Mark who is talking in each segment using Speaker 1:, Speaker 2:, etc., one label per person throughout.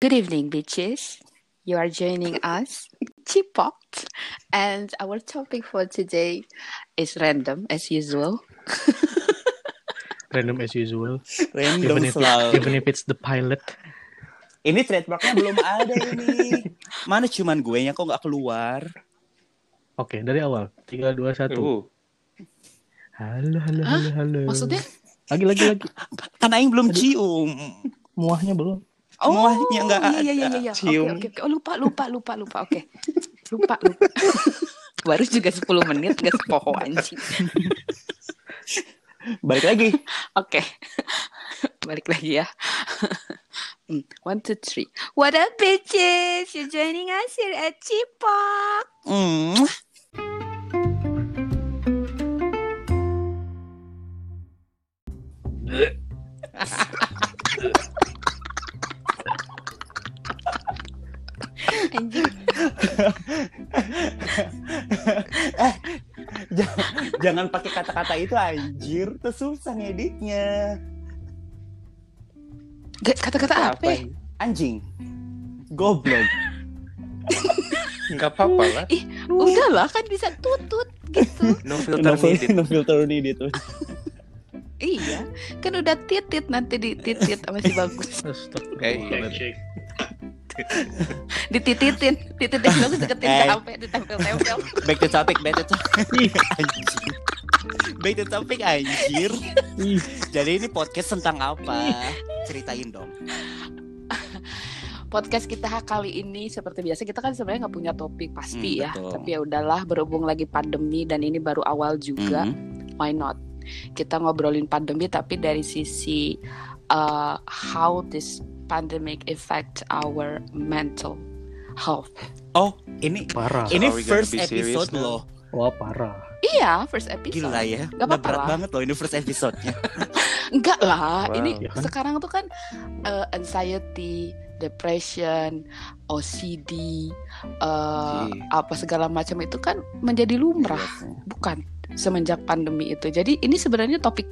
Speaker 1: Good evening, bitches. You are joining us, Chipot, and our topic for today is random as usual.
Speaker 2: Random as usual.
Speaker 3: Random
Speaker 2: Even if,
Speaker 3: selalu.
Speaker 2: even if it's the pilot.
Speaker 3: Ini trademarknya belum ada ini. Mana cuman gue nya kok nggak keluar.
Speaker 2: Oke, dari awal. 3, 2, 1. Halo, halo,
Speaker 1: Hah?
Speaker 2: halo, halo.
Speaker 1: Maksudnya?
Speaker 2: Lagi, lagi, lagi.
Speaker 3: Kan Aing belum cium.
Speaker 2: Muahnya belum.
Speaker 3: Muahnya nggak
Speaker 1: Oh, iya, iya, iya,
Speaker 3: ada.
Speaker 1: iya. Oke,
Speaker 3: Cium.
Speaker 1: oke, oke. Oh, lupa, lupa, lupa, lupa. Oke. Lupa, lupa. Baru juga 10 menit, gak sepoho anjing.
Speaker 3: Balik lagi.
Speaker 1: Oke. Balik lagi ya. Hmm, One, two, three. What up, bitches? You're joining us here at Chipot.
Speaker 3: Mm.
Speaker 1: Anjing.
Speaker 3: Jangan, jangan pakai kata-kata itu anjir, tuh susah ngeditnya.
Speaker 1: Gak, Kata-kata apa? ya?
Speaker 3: Anjing. Goblok.
Speaker 4: Gak apa-apa lah.
Speaker 1: Udah lah, kan bisa tutut gitu.
Speaker 4: No
Speaker 3: No
Speaker 4: filter
Speaker 3: filter,
Speaker 4: needed.
Speaker 3: no filter needed.
Speaker 1: Iya, kan udah titit nanti dititit sama si bagus.
Speaker 2: Astagfirullah.
Speaker 1: Ditititin, tititin bagus deketin ke
Speaker 3: Eh.
Speaker 1: HP, ditempel-tempel.
Speaker 3: Back to topic, back to topic. anjir. Back to topic anjir.
Speaker 2: Ih,
Speaker 3: Jadi ini podcast tentang apa? Ceritain dong.
Speaker 1: Podcast kita kali ini seperti biasa kita kan sebenarnya nggak punya topik pasti
Speaker 3: Hmm,
Speaker 1: ya,
Speaker 3: betul.
Speaker 1: tapi ya udahlah berhubung lagi pandemi dan ini baru awal juga,
Speaker 3: Mhm.
Speaker 1: why not? Kita ngobrolin pandemi tapi dari sisi uh, how this pandemic affect our mental health.
Speaker 3: Oh, ini
Speaker 2: parah.
Speaker 3: ini
Speaker 4: Are we gonna
Speaker 3: first
Speaker 4: be serious
Speaker 3: episode
Speaker 4: now?
Speaker 3: loh.
Speaker 2: Wah, parah.
Speaker 1: Iya, first episode.
Speaker 3: Gila ya.
Speaker 1: Gak apa-apa
Speaker 3: berat
Speaker 1: lah.
Speaker 3: banget loh ini first episode-nya.
Speaker 1: Enggak lah,
Speaker 4: Wow.
Speaker 1: ini
Speaker 2: Ya kan?
Speaker 1: sekarang tuh kan eh, anxiety, depression, OCD, eh,
Speaker 3: Iya.
Speaker 1: apa segala macam itu kan menjadi lumrah, bukan semenjak pandemi itu. Jadi ini sebenarnya topik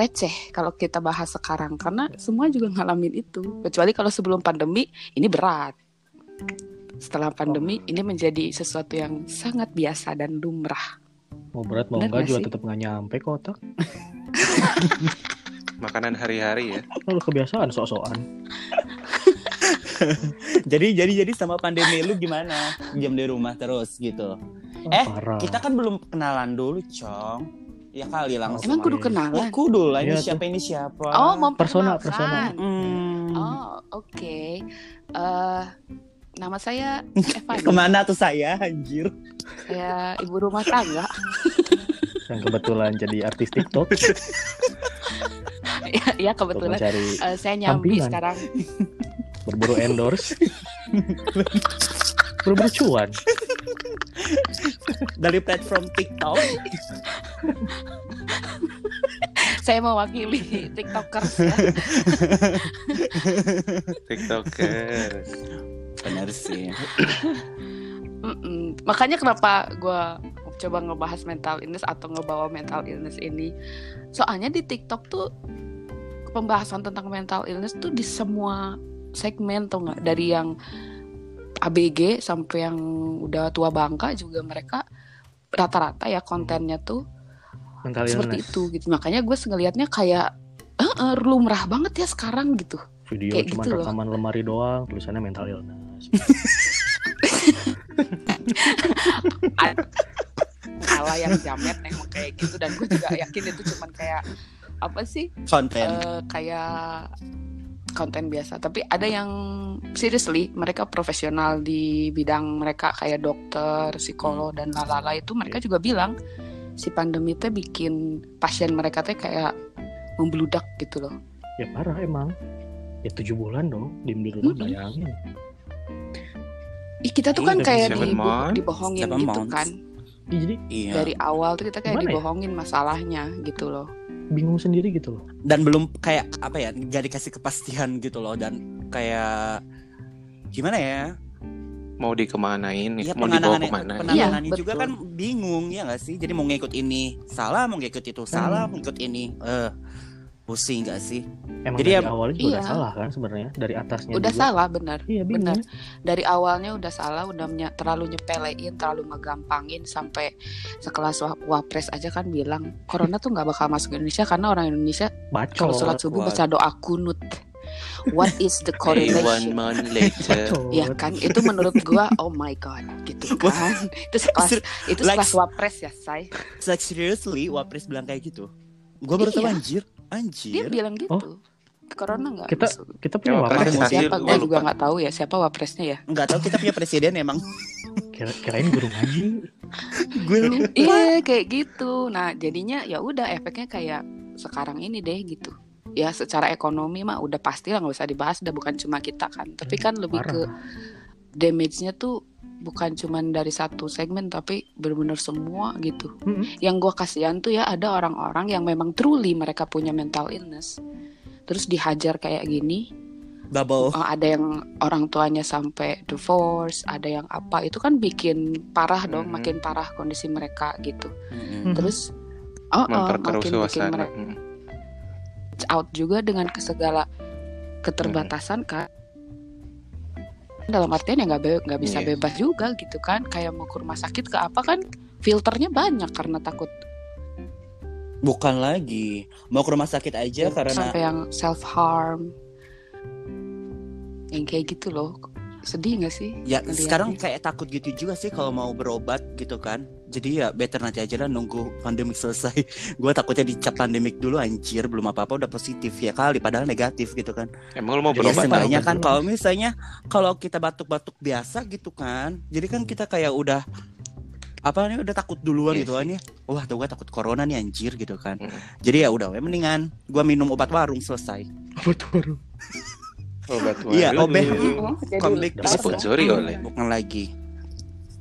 Speaker 1: receh kalau kita bahas sekarang karena semua juga ngalamin itu. Kecuali kalau sebelum pandemi ini berat. Setelah pandemi ini menjadi sesuatu yang sangat biasa dan lumrah.
Speaker 2: Mau berat mau
Speaker 1: Bener
Speaker 2: enggak
Speaker 1: gak
Speaker 2: juga
Speaker 1: sih?
Speaker 2: tetap nggak nyampe kok otak.
Speaker 4: Makanan hari-hari ya.
Speaker 2: Lalu kebiasaan sok-sokan.
Speaker 3: jadi jadi jadi sama pandemi lu gimana? Diam di rumah terus gitu.
Speaker 2: Wah,
Speaker 3: Eh,
Speaker 2: Ah, parah.
Speaker 3: Kita kan belum kenalan dulu, Cong. Ya kali langsung.
Speaker 1: Emang kudu
Speaker 2: iya.
Speaker 3: Lah,
Speaker 1: kenalan.
Speaker 3: kudu lah ini
Speaker 2: Iya
Speaker 3: siapa ini siapa?
Speaker 1: Oh, mau
Speaker 2: Persona, persona.
Speaker 3: Hmm.
Speaker 1: Oh, oke. Eh, nama saya Evan.
Speaker 3: Kemana tuh saya anjir?
Speaker 1: saya ibu rumah tangga.
Speaker 2: Yang kebetulan jadi artis TikTok
Speaker 1: ya,
Speaker 2: untuk
Speaker 1: kebetulan
Speaker 2: mencari
Speaker 1: eh, saya nyambi
Speaker 2: Sampingan.
Speaker 1: sekarang.
Speaker 2: berburu endorse. berburu cuan.
Speaker 3: Dari platform TikTok.
Speaker 1: Saya mewakili TikTokers ya.
Speaker 4: TikToker.
Speaker 3: Benar sih.
Speaker 1: Mm-mm. Makanya kenapa gua coba ngebahas mental illness atau ngebawa mental illness ini. Soalnya di TikTok tuh pembahasan tentang mental illness tuh di semua segmen tuh nggak dari yang ABG sampai yang udah tua bangka juga mereka rata-rata ya kontennya tuh
Speaker 2: Mental
Speaker 1: seperti
Speaker 2: illness.
Speaker 1: itu gitu. Makanya gue ngelihatnya kayak eh, eh, lumrah banget ya sekarang gitu.
Speaker 2: Video
Speaker 1: Kayak
Speaker 2: cuma
Speaker 1: gitu loh.
Speaker 2: rekaman lemari doang, tulisannya mental illness.
Speaker 1: Salah yang jamet emang kayak gitu dan gue juga yakin itu cuman kayak apa sih?
Speaker 3: Konten.
Speaker 1: eh, kayak konten biasa. Tapi ada yang seriously mereka profesional di bidang mereka kayak dokter, psikolog dan
Speaker 3: Hmm.
Speaker 1: lalala itu
Speaker 3: Iya.
Speaker 1: mereka juga bilang si pandemi teh bikin pasien mereka teh kayak membludak gitu loh.
Speaker 2: ya parah emang. Ya tujuh bulan dong, diem di rumah
Speaker 1: Mm-mm.
Speaker 2: bayangin.
Speaker 1: Ih, kita tuh
Speaker 2: Iya,
Speaker 1: kan
Speaker 2: tapi
Speaker 1: kayak
Speaker 4: seven
Speaker 1: dibo-
Speaker 4: months,
Speaker 1: dibohongin
Speaker 3: seven
Speaker 1: gitu
Speaker 3: months.
Speaker 1: kan.
Speaker 2: Ih, jadi
Speaker 3: Iya.
Speaker 1: dari awal tuh kita kayak
Speaker 2: Gimana ya?
Speaker 1: dibohongin masalahnya gitu loh.
Speaker 2: bingung sendiri gitu loh.
Speaker 3: dan belum kayak apa ya nggak dikasih kepastian gitu loh dan kayak gimana ya
Speaker 4: Mau dikemanain?
Speaker 3: ya
Speaker 4: mau dibawa
Speaker 3: penanganannya
Speaker 4: kemana?
Speaker 3: penanganannya
Speaker 1: Iya,
Speaker 3: juga
Speaker 1: betul.
Speaker 3: kan
Speaker 1: Hmm.
Speaker 3: bingung ya nggak sih jadi mau ngikut ini salah mau ngikut itu salah mau ngikut ini eh pusing gak sih?
Speaker 2: Emang
Speaker 3: Jadi
Speaker 2: dari
Speaker 3: em-
Speaker 2: awalnya juga
Speaker 1: iya.
Speaker 2: udah salah kan sebenarnya dari atasnya.
Speaker 1: udah
Speaker 2: dulu.
Speaker 1: salah bener
Speaker 2: Iya benar.
Speaker 1: bener. dari awalnya udah salah udah menye- terlalu nyepelein terlalu ngegampangin sampai sekelas wa- wapres aja kan bilang corona tuh nggak bakal masuk Indonesia karena orang Indonesia
Speaker 2: Bacol.
Speaker 1: kalau sholat subuh
Speaker 3: kuat.
Speaker 1: baca doa kunut what is the
Speaker 4: Hey, one
Speaker 1: correlation
Speaker 4: month later.
Speaker 2: Bacol.
Speaker 1: ya kan itu menurut gua oh my god gitu kan itu sekelas itu
Speaker 3: Like-
Speaker 1: sekelas wapres ya say
Speaker 3: Like seriously, Wapres bilang kayak gitu. Gue baru tahu
Speaker 1: Iya.
Speaker 3: anjir,
Speaker 1: dia
Speaker 3: anjir.
Speaker 1: bilang gitu corona nggak
Speaker 2: Kita-
Speaker 1: masuk.
Speaker 2: Kita punya
Speaker 4: Ya,
Speaker 2: wapres.
Speaker 4: makanya.
Speaker 2: ya?
Speaker 1: siapa
Speaker 4: Gua
Speaker 1: gua
Speaker 4: lupa.
Speaker 1: juga nggak tahu ya siapa wapresnya ya
Speaker 3: Nggak tahu kita punya presiden emang.
Speaker 2: Kira kirain guru ngaji.
Speaker 3: Gue lupa.
Speaker 1: Iya kayak gitu. Nah jadinya ya udah efeknya kayak sekarang ini deh gitu. Ya secara ekonomi mah udah pasti lah nggak usah dibahas. Udah bukan cuma kita kan. Tapi kan lebih ke
Speaker 2: Parah.
Speaker 1: damage-nya tuh bukan cuma dari satu segmen tapi benar-benar semua gitu.
Speaker 2: Mm-mm.
Speaker 1: Yang gua kasihan tuh ya ada orang-orang yang memang truly mereka punya mental illness. Terus dihajar kayak gini,
Speaker 3: Bubble.
Speaker 1: Oh, ada yang orang tuanya sampai divorce, ada yang apa itu kan bikin parah dong,
Speaker 4: Mhm.
Speaker 1: makin parah kondisi mereka gitu.
Speaker 3: Mm-mm.
Speaker 2: Mhm.
Speaker 1: Terus oh, oh,
Speaker 4: Memperkeruh
Speaker 1: makin bikin
Speaker 4: suasana.
Speaker 1: mereka
Speaker 4: Hmm.
Speaker 1: out juga dengan segala keterbatasan
Speaker 4: Hmm.
Speaker 1: kan. Dalam artian ya nggak be- nggak bisa
Speaker 4: Iya.
Speaker 1: bebas juga gitu kan. Kayak mau ke rumah sakit ke apa kan filternya banyak karena takut
Speaker 3: Bukan lagi. Mau ke rumah sakit aja karena
Speaker 1: sampai yang self harm. Yang kayak gitu loh. Sedih nggak sih?
Speaker 3: ya
Speaker 1: Ngeliatnya.
Speaker 3: sekarang kayak takut gitu juga sih kalau mau berobat gitu kan. Jadi ya better nanti aja lah nunggu pandemik selesai. Gue takutnya dicap pandemik dulu anjir belum apa-apa udah positif ya kali padahal negatif gitu kan.
Speaker 4: Emang lu
Speaker 1: Iya,
Speaker 4: mau
Speaker 2: Berobat
Speaker 3: Ya
Speaker 4: Oh, berobat?
Speaker 3: seenggaknya
Speaker 2: apa?
Speaker 3: kan kalau misalnya kalau kita batuk-batuk biasa gitu kan. Jadi kan kita kayak udah apa nih udah takut duluan
Speaker 4: Iya
Speaker 3: gitu kan ya. Wah, tuh gue takut corona nih anjir gitu kan.
Speaker 4: Mm.
Speaker 3: Jadi ya udah we, mendingan gua minum obat warung selesai.
Speaker 2: Betul, betul.
Speaker 1: Oh,
Speaker 4: Obat
Speaker 3: Iya,
Speaker 4: warung.
Speaker 3: obeh.
Speaker 1: Mm-mm, jadi
Speaker 3: Konflik
Speaker 1: parah.
Speaker 4: disponsori
Speaker 1: Mm.
Speaker 4: oleh
Speaker 3: Bukan lagi.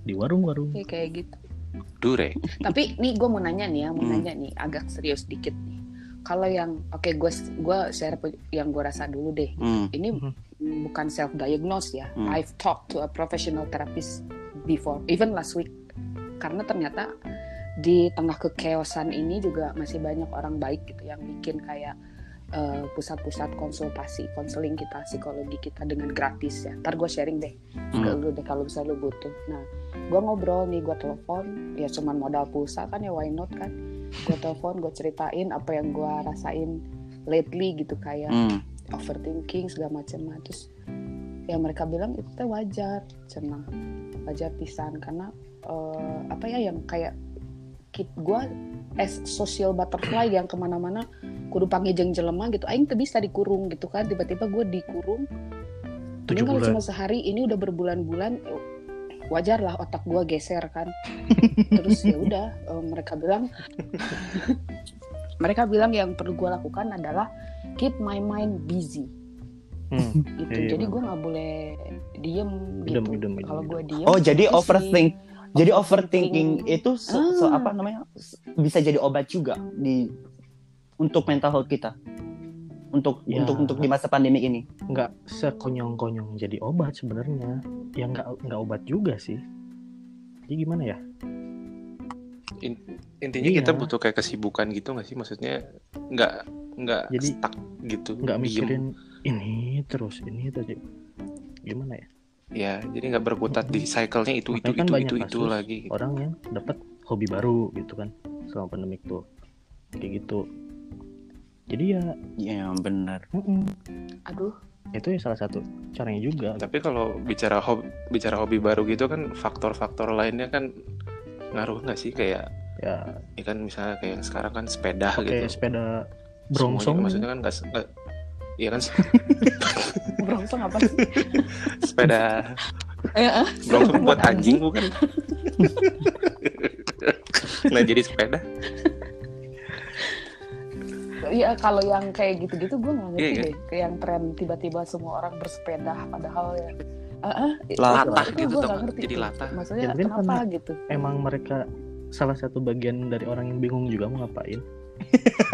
Speaker 2: Di warung-warung.
Speaker 1: Ya, kayak gitu.
Speaker 4: Dure.
Speaker 1: Tapi nih gue mau nanya nih ya, mau
Speaker 3: Hmm.
Speaker 1: nanya nih agak serius dikit nih. Kalau yang oke gue gua share pe- yang gue rasa dulu deh.
Speaker 3: Hmm.
Speaker 1: Ini
Speaker 2: Mhm.
Speaker 1: bukan self diagnose ya.
Speaker 3: Hmm.
Speaker 1: I've talked to a professional therapist before, even last week. Karena ternyata di tengah kekeosan ini juga masih banyak orang baik gitu yang bikin kayak eh, pusat-pusat konsultasi, konseling kita, psikologi kita dengan gratis ya. Ntar gue sharing deh ke
Speaker 3: Hmm.
Speaker 1: lu deh kalau bisa lu butuh. Nah, gua ngobrol nih, gua telepon, ya cuman modal pulsa kan ya why not kan. Gua telepon, gua ceritain apa yang gua rasain lately gitu kayak
Speaker 3: Hmm.
Speaker 1: overthinking segala macam. Nah, terus ya mereka bilang itu teh wajar, cenah wajar pisan karena eh, apa ya yang kayak kit gua as social butterfly yang kemana-mana kudu panggejeng jelema gitu aing teu bisa dikurung gitu kan tiba-tiba gue dikurung ini
Speaker 2: Tujuh
Speaker 1: kalau
Speaker 2: bulan.
Speaker 1: cuma sehari ini udah berbulan-bulan eh, wajar lah otak gua geser kan terus ya udah eh, mereka bilang mereka bilang yang perlu gua lakukan adalah keep my mind busy
Speaker 2: Hmm.
Speaker 1: gitu
Speaker 2: Iya, iya,
Speaker 1: jadi
Speaker 2: bener.
Speaker 1: gua nggak boleh diem gitu
Speaker 2: Idem, idem, idem,
Speaker 1: kalau gua diem gitu
Speaker 3: Oh, jadi
Speaker 1: pusing.
Speaker 3: overthink. Jadi
Speaker 1: Overthinking.
Speaker 3: overthinking Ah. itu se- se- apa namanya? se- Bisa jadi obat juga di untuk mental health kita. Untuk
Speaker 2: Ya.
Speaker 3: untuk untuk di masa pandemi ini.
Speaker 2: nggak sekonyong-konyong jadi obat sebenarnya yang nggak nggak obat juga sih jadi gimana ya
Speaker 4: In- intinya
Speaker 2: Iya.
Speaker 4: kita butuh kayak kesibukan gitu nggak sih? Maksudnya nggak nggak
Speaker 2: Jadi,
Speaker 4: stuck gitu.
Speaker 2: nggak
Speaker 4: diem.
Speaker 2: mikirin ini terus ini terus gimana ya
Speaker 4: Ya, jadi nggak berkutat di cycle-nya itu itu
Speaker 2: Makanya kan
Speaker 4: itu
Speaker 2: banyak
Speaker 4: itu itu
Speaker 2: kasus
Speaker 4: lagi. gitu.
Speaker 2: orang yang dapat hobi baru gitu kan selama pandemik tuh kayak gitu jadi ya
Speaker 3: Iya, benar.
Speaker 2: mm-mm.
Speaker 1: aduh
Speaker 2: itu ya salah satu caranya juga
Speaker 4: Tapi kalau bicara hobi bicara hobi baru gitu kan faktor-faktor lainnya kan ngaruh nggak sih kayak
Speaker 2: ya
Speaker 4: ya kan misalnya kayak sekarang kan sepeda
Speaker 2: pakai
Speaker 4: gitu.
Speaker 2: sepeda
Speaker 4: Semuanya,
Speaker 2: brongsong gitu.
Speaker 4: maksudnya kan nggak se- nggak- Iya kan
Speaker 1: berongsong apa sih
Speaker 4: sepeda
Speaker 1: Eh, eh,
Speaker 4: brongsong buat anjing bukan? nah jadi sepeda
Speaker 1: Iya kalau yang kayak gitu-gitu gue nggak ngerti
Speaker 4: Iya, iya.
Speaker 1: deh. Kayak yang tren tiba-tiba semua orang bersepeda padahal ya. Ah, ah, itu-
Speaker 3: Latah
Speaker 1: itu gua
Speaker 4: gitu tau
Speaker 1: nggak
Speaker 4: nggak?
Speaker 1: ngerti
Speaker 4: Jadi
Speaker 1: tuh.
Speaker 4: latah.
Speaker 1: Maksudnya
Speaker 2: Ya, mungkin
Speaker 1: kenapa gitu?
Speaker 2: emang mereka salah satu bagian dari orang yang bingung juga mau ngapain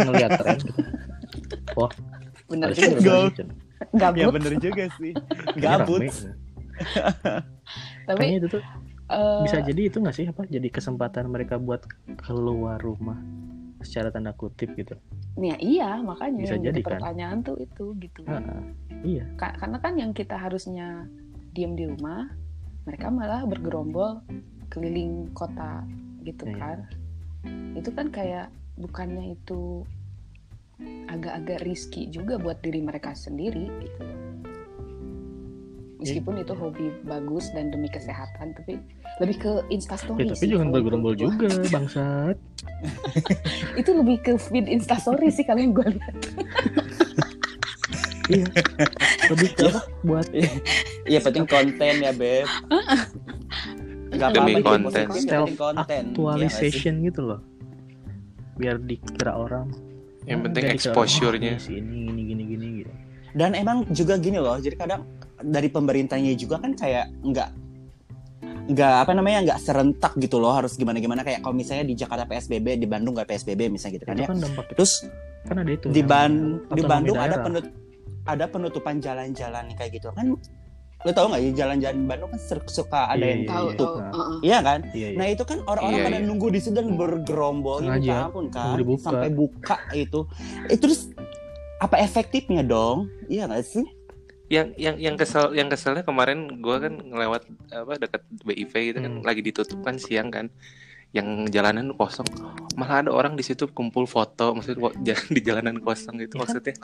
Speaker 2: ngelihat tren gitu. Wah,
Speaker 1: Bener
Speaker 2: harusnya
Speaker 1: juga.
Speaker 3: juga.
Speaker 2: direbahin, Cen. Iya,
Speaker 1: Gabut.
Speaker 3: Ya, benar juga sih.
Speaker 2: Kayaknya
Speaker 3: Gabut.
Speaker 2: rame.
Speaker 1: Tapi
Speaker 2: Kayaknya itu tuh
Speaker 1: eh,
Speaker 2: bisa jadi itu nggak sih apa? Jadi kesempatan mereka buat keluar rumah secara tanda kutip gitu.
Speaker 1: Nah, iya makanya
Speaker 2: Bisa
Speaker 1: yang jadi
Speaker 2: jadi, kan?
Speaker 1: pertanyaan tuh itu gitu.
Speaker 2: Heeh, iya
Speaker 1: Ka- karena kan yang kita harusnya diem di rumah, mereka malah bergerombol keliling kota gitu
Speaker 2: Iya.
Speaker 1: kan. Itu kan kayak bukannya itu agak-agak riski juga buat diri mereka sendiri gitu. Meskipun
Speaker 2: Iya.
Speaker 1: itu hobi bagus dan demi kesehatan, tapi lebih ke instastory.
Speaker 2: ya, tapi
Speaker 1: Iya sih
Speaker 2: jangan
Speaker 1: kalau
Speaker 2: bergerombol
Speaker 1: menurut gua.
Speaker 2: juga bangsat
Speaker 1: Itu lebih ke feed instastory sih kalau yang gue lihat.
Speaker 2: lebih ke apa buat
Speaker 3: Iya penting konten ya beb. Gak apa-apa
Speaker 4: Demi
Speaker 3: itu
Speaker 4: konten.
Speaker 3: positif, yang
Speaker 2: Self
Speaker 3: penting konten. Iya Kan nggak sih?
Speaker 2: actualization gitu loh biar dikira orang
Speaker 4: Yang
Speaker 2: "Ah,
Speaker 4: penting
Speaker 2: biar dikira orang,
Speaker 4: exposure-nya."
Speaker 2: "Ah, dia sini gini gini gini gitu
Speaker 3: Dan emang juga gini loh, jadi kadang dari pemerintahnya juga kan kayak nggak nggak apa namanya nggak serentak gitu loh harus gimana gimana kayak kalau misalnya di Jakarta PSBB di Bandung nggak PSBB misalnya gitu kan
Speaker 2: itu
Speaker 3: ya
Speaker 2: kan dampak
Speaker 3: terus
Speaker 2: kan ada itu
Speaker 3: di,
Speaker 2: yang
Speaker 3: Ban- di
Speaker 2: otonomi
Speaker 3: Bandung ada
Speaker 2: daerah.
Speaker 3: penut ada penutupan jalan-jalan kayak gitu kan lo tau nggak ya jalan-jalan Bandung kan ser- suka ada
Speaker 2: Iya,
Speaker 3: yang
Speaker 2: iya,
Speaker 1: Tahu
Speaker 2: iya.
Speaker 1: tahu.
Speaker 3: tutup
Speaker 1: heeh.
Speaker 3: iya kan
Speaker 2: iya, iya.
Speaker 3: nah itu kan orang-orang
Speaker 4: Iya,
Speaker 3: pada
Speaker 4: iya.
Speaker 3: nunggu di situ dan bergerombol ya
Speaker 2: Sengaja,
Speaker 3: minta ampun kan
Speaker 2: nunggu dibuka.
Speaker 3: sampai buka itu Eh, terus apa efektifnya dong iya nggak sih
Speaker 4: yang yang yang kesel yang keselnya kemarin gua kan ngelewat apa dekat BIV gitu kan
Speaker 2: Hmm.
Speaker 4: lagi ditutup kan siang kan yang jalanan kosong malah ada orang di situ kumpul foto maksudnya wa- jalan di jalanan kosong
Speaker 2: Iya
Speaker 4: gitu
Speaker 2: kan?
Speaker 4: maksudnya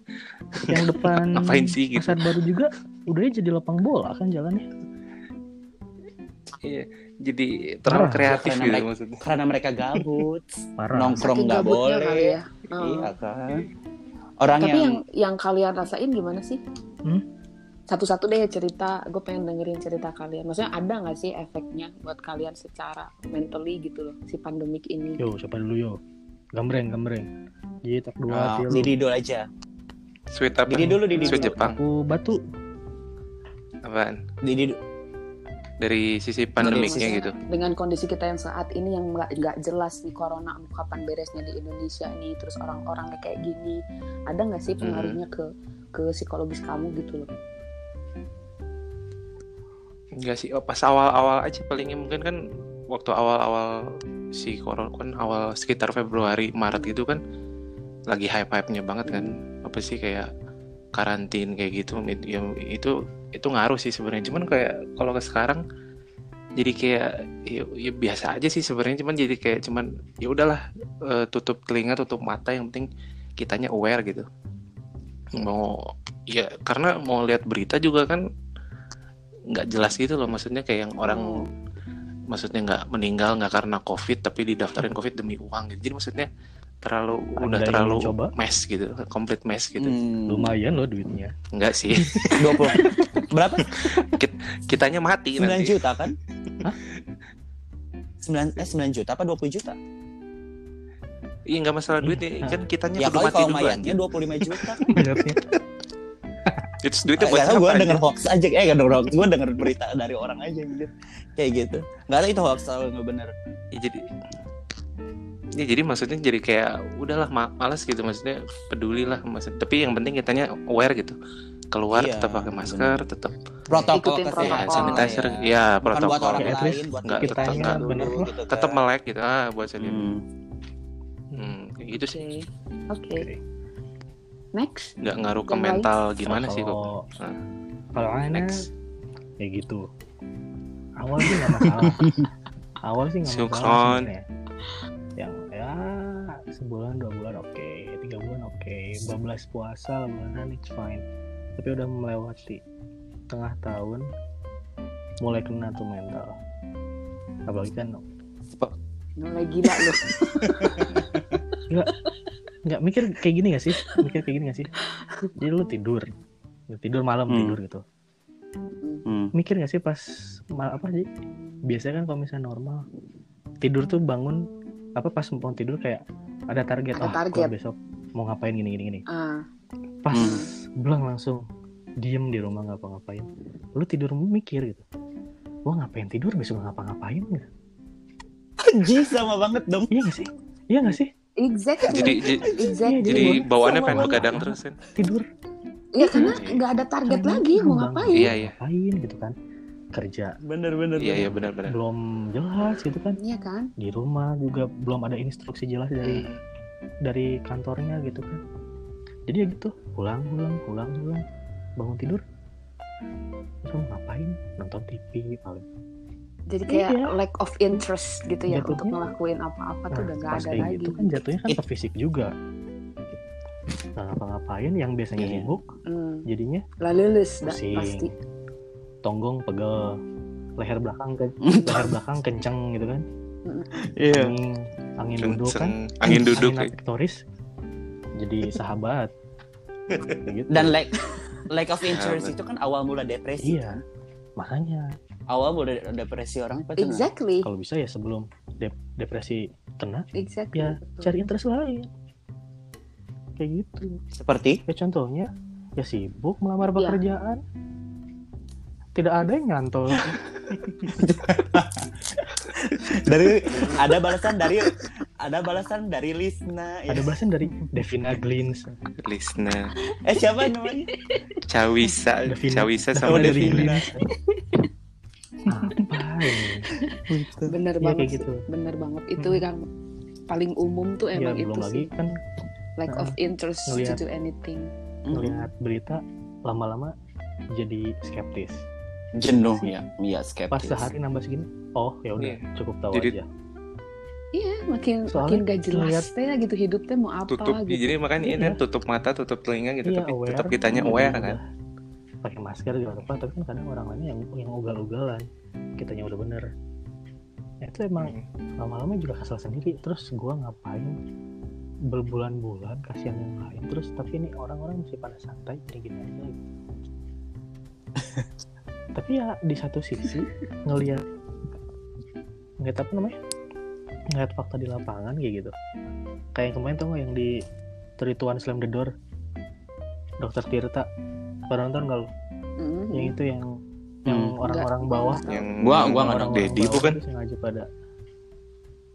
Speaker 2: yang depan
Speaker 4: Ngapain sih gitu?
Speaker 2: pasar baru juga udahnya jadi lapang bola kan jalannya
Speaker 4: iya jadi terlalu
Speaker 2: Parah.
Speaker 4: kreatif
Speaker 3: Karena
Speaker 4: gitu
Speaker 3: mereka-
Speaker 4: maksudnya
Speaker 3: karena mereka gabut
Speaker 2: parah
Speaker 3: nongkrong
Speaker 1: Saking
Speaker 3: nggak
Speaker 1: gabutnya
Speaker 3: boleh
Speaker 1: kali ya. Heeh.
Speaker 4: Oh.
Speaker 3: iya kan orang
Speaker 1: Tapi
Speaker 3: yang,
Speaker 1: yang yang kalian rasain gimana sih?
Speaker 2: Hmm?
Speaker 1: Satu-satu deh cerita, gue pengen dengerin cerita kalian. Maksudnya ada nggak sih efeknya buat kalian secara mentally gitu loh si pandemik ini?
Speaker 2: yo siapa dulu yo gambreng gambreng jadi tak dua
Speaker 3: Ah,
Speaker 2: hati lu.
Speaker 3: Didi dulu aja
Speaker 4: sweet apa
Speaker 3: Didi dulu Didi dulu
Speaker 4: sweet Jepang
Speaker 2: aku batu
Speaker 3: Hmm.
Speaker 4: apaan
Speaker 3: Didi du-
Speaker 4: dari sisi pandemiknya
Speaker 1: maksudnya
Speaker 4: gitu
Speaker 1: Dengan kondisi kita yang saat ini yang nggak nggak jelas nih corona kapan beresnya di Indonesia nih, terus orang-orangnya kayak gini, ada nggak
Speaker 2: Hmm.
Speaker 1: sih pengaruhnya ke ke psikologis kamu gitu loh?
Speaker 4: Enggak sih, oh, pas awal-awal aja palingnya mungkin kan waktu awal-awal si corona kan awal sekitar Februari Maret gitu kan lagi hype-hype-nya banget kan apa sih kayak karantin kayak gitu it- ya, itu itu ngaruh sih sebenarnya cuman kayak kalau ke sekarang jadi kayak ya, ya biasa aja sih sebenarnya cuman jadi kayak cuman ya udahlah eh, tutup telinga tutup mata yang penting kitanya aware gitu mau ya karena mau lihat berita juga kan nggak jelas gitu loh maksudnya kayak yang orang maksudnya nggak meninggal nggak karena covid tapi didaftarin covid demi uang gitu jadi maksudnya terlalu
Speaker 2: Anda
Speaker 4: udah
Speaker 2: yang
Speaker 4: terlalu
Speaker 2: mencoba?
Speaker 4: mes gitu complete mes gitu
Speaker 3: Hmm,
Speaker 2: lumayan loh duitnya
Speaker 4: Enggak sih
Speaker 3: 20 berapa
Speaker 4: kitanya mati
Speaker 3: 9
Speaker 4: nanti
Speaker 3: juta kan? Hah? 9 eh 9 juta apa 20 juta?
Speaker 4: iya nggak masalah duit ya.
Speaker 2: Iya.
Speaker 4: kan kitanya
Speaker 3: Ya kali
Speaker 4: kudu mati
Speaker 3: kalau
Speaker 4: dulu
Speaker 3: mayatnya
Speaker 4: anjir
Speaker 3: 25 juta kan.
Speaker 2: benernya
Speaker 4: itu
Speaker 3: Itu
Speaker 4: duitnya buat siapa
Speaker 3: gue
Speaker 4: anjir?
Speaker 3: denger hoax aja eh gak denger hoax, gue denger berita dari orang aja gitu. Kayak gitu. Gak ada itu hoax kalau nggak bener.
Speaker 4: ya jadi ya jadi maksudnya jadi kayak udahlah ma- malas gitu maksudnya pedulilah maksud tapi yang penting kitanya aware gitu keluar
Speaker 3: Iya,
Speaker 4: tetap pakai masker tetap
Speaker 3: Protokol
Speaker 1: Ikutin
Speaker 4: ya,
Speaker 1: protokol.
Speaker 3: kesehatan
Speaker 4: sanitizer
Speaker 3: ya.
Speaker 4: ya
Speaker 3: Bukan
Speaker 4: protokol
Speaker 3: buat orang
Speaker 2: Ya, at
Speaker 3: lain,
Speaker 2: least
Speaker 3: buat
Speaker 4: nggak,
Speaker 3: kita
Speaker 4: tetap
Speaker 3: kita
Speaker 4: nggak.
Speaker 3: dulu
Speaker 2: Bener lah.
Speaker 3: gitu kan.
Speaker 4: tetap melek gitu ah buat sendiri
Speaker 3: Hmm.
Speaker 4: hmm. kayak gitu sih
Speaker 1: Oke, oke. Next.
Speaker 4: nggak ngaruh ke
Speaker 1: Yang lain?
Speaker 4: mental gimana sih kok
Speaker 2: Kalau-
Speaker 4: Nah.
Speaker 2: Oh, kalau aneh
Speaker 4: Next.
Speaker 2: ya gitu awal sih nggak masalah awal sih nggak
Speaker 4: Silk
Speaker 2: masalah
Speaker 4: on.
Speaker 2: sebenarnya. yang ya sebulan dua bulan oke tiga bulan oke 12 puasa bulanan it's fine tapi udah melewati tengah tahun mulai kena tuh mental apalagi kan
Speaker 1: Mulai gila loh.
Speaker 2: nggak mikir kayak gini gak sih mikir kayak gini gak sih jadi lu tidur Lu tidur malam
Speaker 3: Hmm.
Speaker 2: tidur gitu
Speaker 3: Hmm.
Speaker 2: mikir gak sih pas mal apa sih biasanya kan kalau misalnya normal tidur tuh bangun apa pas mau tidur kayak ada target
Speaker 1: Ada
Speaker 2: Ah, gua
Speaker 1: target.
Speaker 2: besok mau ngapain gini gini gini
Speaker 1: Ah,
Speaker 2: pas
Speaker 3: Hmm.
Speaker 2: belang langsung diem di rumah nggak ngapa-ngapain lu tidur mikir gitu gua ngapain tidur besok nggak ngapa-ngapain nggak?
Speaker 3: Anjing, sama banget dong.
Speaker 2: iya gak sih iya gak sih
Speaker 1: exactly.
Speaker 4: jadi j-
Speaker 1: exactly.
Speaker 4: jadi
Speaker 2: Jadi
Speaker 4: bawaannya
Speaker 2: Iya, sama ya.
Speaker 4: pengen
Speaker 2: banget.
Speaker 4: begadang terus kan
Speaker 2: tidur
Speaker 1: Iya karena
Speaker 4: Iya.
Speaker 1: nggak ada target
Speaker 2: Karena
Speaker 1: lagi mau
Speaker 2: tidur,
Speaker 1: ngapain.
Speaker 2: bangun,
Speaker 4: Iya, iya.
Speaker 2: ngapain gitu kan kerja
Speaker 3: Bener bener.
Speaker 4: iya iya
Speaker 3: bener.
Speaker 4: benar-benar
Speaker 2: belum jelas gitu kan
Speaker 1: Iya kan?
Speaker 2: di rumah juga belum ada instruksi jelas dari
Speaker 4: Hmm.
Speaker 2: dari kantornya gitu kan jadi ya gitu pulang pulang pulang pulang bangun tidur terus mau ngapain nonton TV paling
Speaker 1: Jadi kayak
Speaker 2: Iya.
Speaker 1: lack of interest gitu ya
Speaker 2: Jatuhnya-
Speaker 1: untuk ngelakuin apa-apa tuh udah gak
Speaker 2: pas
Speaker 1: ada
Speaker 2: kayak
Speaker 1: lagi.
Speaker 2: gitu kan jatuhnya kan ke fisik juga nggak ngapa-ngapain yang biasanya
Speaker 3: Iya.
Speaker 2: sibuk
Speaker 1: Hmm.
Speaker 2: jadinya
Speaker 1: Lah lulus dah
Speaker 2: Pusing.
Speaker 1: pasti.
Speaker 2: tonggong pegel leher belakang ke leher belakang kenceng gitu kan
Speaker 3: Iya.
Speaker 2: angin angin duduk kan
Speaker 4: Kenceng. angin duduk iya.
Speaker 2: angin aktoris jadi sahabat Gitu.
Speaker 3: Dan lack lack of interest
Speaker 4: Sahabat.
Speaker 3: itu kan awal mula depresi
Speaker 2: Iya.
Speaker 3: kan.
Speaker 2: makanya
Speaker 3: Awal mula de- depresi orang apa tuh? Nah?
Speaker 1: Exactly.
Speaker 2: kalau bisa ya sebelum dep- depresi kena
Speaker 1: Exactly.
Speaker 2: ya
Speaker 1: betul.
Speaker 2: cari interest lain kayak gitu
Speaker 3: Seperti
Speaker 2: ya contohnya ya sibuk melamar
Speaker 1: Iya.
Speaker 2: pekerjaan tidak ada yang nyantol
Speaker 3: dari ada balasan dari ada balasan dari Lisna. ya.
Speaker 2: ada balasan dari Devina Glins
Speaker 4: Lisna
Speaker 3: Eh siapa namanya?
Speaker 4: Cawisa
Speaker 2: Devina.
Speaker 4: Cawisa sama
Speaker 2: Ada
Speaker 4: Devina
Speaker 2: Glins. apa ini
Speaker 1: Bener
Speaker 2: Iya,
Speaker 1: banget.
Speaker 2: kayak
Speaker 1: sih.
Speaker 2: gitu
Speaker 1: Bener banget. Itu
Speaker 2: Mm.
Speaker 1: yang paling umum tuh
Speaker 2: ya
Speaker 1: emang itu
Speaker 2: belum lagi
Speaker 1: sih. Hmm.
Speaker 2: kan
Speaker 1: Lack of interest to
Speaker 2: ngeliat.
Speaker 1: do anything.
Speaker 2: melihat berita lama-lama jadi skeptis
Speaker 3: Jenuh ya. Iya
Speaker 2: pas
Speaker 3: skeptis.
Speaker 2: sehari nambah segini oh ya udah
Speaker 4: Iya.
Speaker 2: cukup tahu
Speaker 4: Jadi-
Speaker 2: aja
Speaker 1: Iya, makin
Speaker 2: Soalnya
Speaker 1: makin gak jelas
Speaker 2: ngeliat-
Speaker 1: teh ya gitu hidupnya mau apa
Speaker 4: tutup
Speaker 1: gitu.
Speaker 4: jadi makanya ini
Speaker 2: Iya.
Speaker 4: kan tutup mata tutup telinga gitu
Speaker 2: Iya,
Speaker 4: tapi
Speaker 2: aware.
Speaker 4: tetap kitanya aware kan
Speaker 2: pakai masker juga apa tapi kan kadang orang lainnya yang yang ugal-ugalan kitanya udah bener Ya, itu emang
Speaker 4: Hmm.
Speaker 2: lama-lama juga kesel sendiri terus gua ngapain berbulan-bulan kasihan yang lain terus tapi ini orang-orang masih pada santai gini gini aja gitu. tapi ya di satu sisi ngelihat ngelihat apa namanya ngelihat fakta di lapangan kayak gitu kayak yang kemarin tau nggak yang di Trituan Slam the Door Dokter Tirta pernah nonton nggak lu?
Speaker 1: Mm.
Speaker 2: yang itu yang yang
Speaker 3: Hmm.
Speaker 2: orang-orang
Speaker 1: Nggak,
Speaker 2: bawah
Speaker 1: nggak tahu.
Speaker 4: yang
Speaker 3: Gua- gua nggak
Speaker 4: orang
Speaker 3: tahu.
Speaker 4: Dedi
Speaker 2: bawah
Speaker 4: bukan
Speaker 2: itu sengaja pada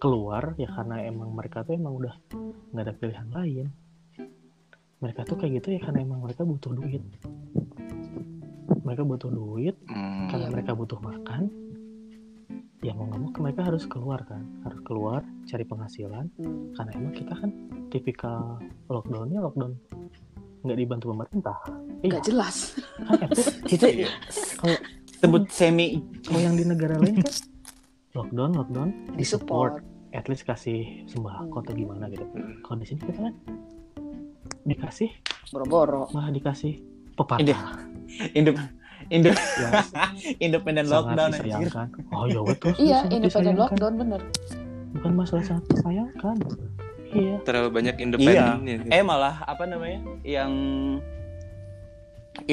Speaker 2: keluar ya karena emang mereka tuh emang udah nggak ada pilihan lain mereka tuh kayak gitu ya karena emang mereka butuh duit mereka butuh duit
Speaker 4: Hmm.
Speaker 2: karena
Speaker 1: Iya.
Speaker 2: mereka butuh makan ya mau nggak mau mereka harus keluar kan harus keluar cari penghasilan
Speaker 1: Mm.
Speaker 2: karena emang kita kan tipikal lockdownnya lockdown nggak dibantu pemerintah iya
Speaker 1: Gak jelas.
Speaker 2: kan itu
Speaker 3: Kita
Speaker 4: Iya.
Speaker 2: Kalau-
Speaker 3: sebut semi
Speaker 2: kalau yang di negara lain kan lockdown lockdown
Speaker 1: Di support.
Speaker 2: at least kasih sembako atau gimana gitu.
Speaker 4: Hmm.
Speaker 2: Kalau di sini kita kan dikasih
Speaker 1: Boro-boro.
Speaker 2: malah dikasih pepatah
Speaker 3: Ide. Indo Indo
Speaker 2: yang
Speaker 3: independent
Speaker 2: sangat
Speaker 3: lockdown gitu. anjir.
Speaker 2: disayangkan. Oh ya betul.
Speaker 1: Iya,
Speaker 2: sangat
Speaker 1: independent
Speaker 2: disayangkan.
Speaker 1: lockdown bener.
Speaker 2: Bukan masalah sangat disayangkan. Iya.
Speaker 4: terlalu banyak independen ya.
Speaker 3: Eh malah apa namanya? Yang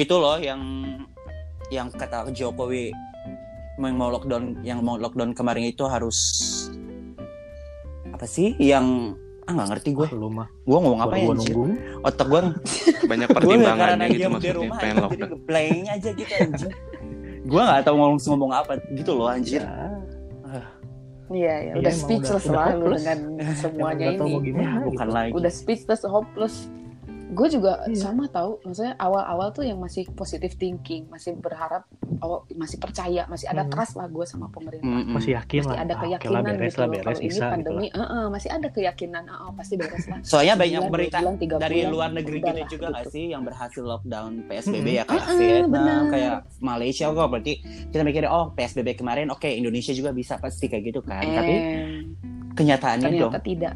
Speaker 3: itu loh yang yang kata Jokowi yang mau lockdown yang mau lockdown kemarin itu harus apa sih yang ah nggak ngerti gue
Speaker 2: Wah, lu mah
Speaker 3: gue ngomong apa
Speaker 2: baru
Speaker 3: ya
Speaker 2: gua
Speaker 3: anjir?
Speaker 2: nunggu.
Speaker 3: otak gue
Speaker 4: banyak
Speaker 3: gue
Speaker 4: pertimbangannya
Speaker 3: karena
Speaker 4: gitu
Speaker 3: diam di
Speaker 4: maksudnya
Speaker 3: rumah
Speaker 4: pengen
Speaker 3: anjir, jadi
Speaker 4: lockdown
Speaker 3: geblengnya aja gitu anjir gue nggak tahu ngomong ngomong apa gitu loh anjir
Speaker 2: Ya,
Speaker 1: Iya, ya.
Speaker 2: Iya,
Speaker 1: udah
Speaker 2: emang udah-
Speaker 1: speechless
Speaker 2: udah
Speaker 1: lah lu
Speaker 2: hopeless.
Speaker 1: dengan semuanya
Speaker 2: nggak tahu
Speaker 1: ini.
Speaker 2: mau gimana. gitu.
Speaker 3: bukan lagi
Speaker 1: udah speechless hopeless gue juga
Speaker 2: Iya.
Speaker 1: sama tahu maksudnya awal-awal tuh yang masih positive thinking masih berharap awal masih percaya masih ada
Speaker 2: Mhm.
Speaker 1: trust lah gue sama pemerintah
Speaker 3: Mm-mm.
Speaker 2: Masih yakin
Speaker 1: masih
Speaker 2: lah.
Speaker 1: ada
Speaker 2: Ah, oke
Speaker 1: keyakinan
Speaker 2: lah,
Speaker 1: gitu
Speaker 2: beres lah,
Speaker 1: loh.
Speaker 2: beres
Speaker 1: kalau ini
Speaker 2: bisa gitu
Speaker 1: pandemi
Speaker 2: lah.
Speaker 1: eh, eh, masih ada keyakinan eh, eh, pasti beres lah
Speaker 3: soalnya Iya, banyak
Speaker 1: Sebulan, dua
Speaker 3: berita
Speaker 1: bulan, tiga
Speaker 3: dari
Speaker 1: bulan,
Speaker 3: luar negeri
Speaker 1: udah
Speaker 3: gitu
Speaker 1: lah,
Speaker 3: juga nggak
Speaker 1: gitu.
Speaker 3: sih yang berhasil lockdown PSBB ya kayak
Speaker 1: Mm-mm,
Speaker 3: Vietnam
Speaker 1: benar.
Speaker 3: kayak Malaysia kok berarti kita mikirnya oh PSBB kemarin oke Indonesia juga bisa pasti kayak gitu kan
Speaker 1: Eh,
Speaker 3: tapi kenyataannya Iya dong
Speaker 1: ternyata tidak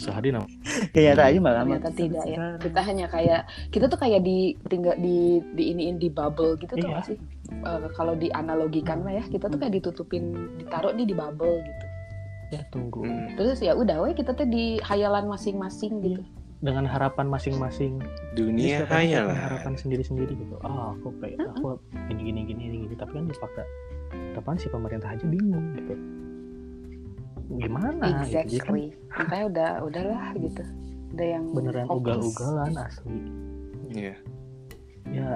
Speaker 2: Sehari nama.
Speaker 3: kenyataannya malah
Speaker 1: ternyata tidak ya kita hanya kayak kita tuh kayak di tinggal di di iniin di bubble gitu tuh
Speaker 2: Iya.
Speaker 1: nggak sih Eh, kalau dianalogikan lah ya kita tuh kayak ditutupin ditaruh nih di bubble gitu
Speaker 2: Ya tunggu.
Speaker 4: Hmm.
Speaker 1: terus ya udah we kita tuh di hayalan masing-masing gitu
Speaker 2: Dengan harapan masing-masing. Jadi
Speaker 3: Iya,
Speaker 4: dunia
Speaker 2: setiap orang punya
Speaker 4: hayalan
Speaker 2: harapan sendiri-sendiri gitu ah aku kayak aku gini gini gini gini gini. tapi kan di fakta depan si pemerintah aja bingung gitu gimana gitu. Jadi kan
Speaker 1: exactly makanya udah udahlah gitu udah yang
Speaker 2: beneran
Speaker 1: hopeless.
Speaker 2: ugal-ugalan asli ya
Speaker 4: Iya.
Speaker 2: ya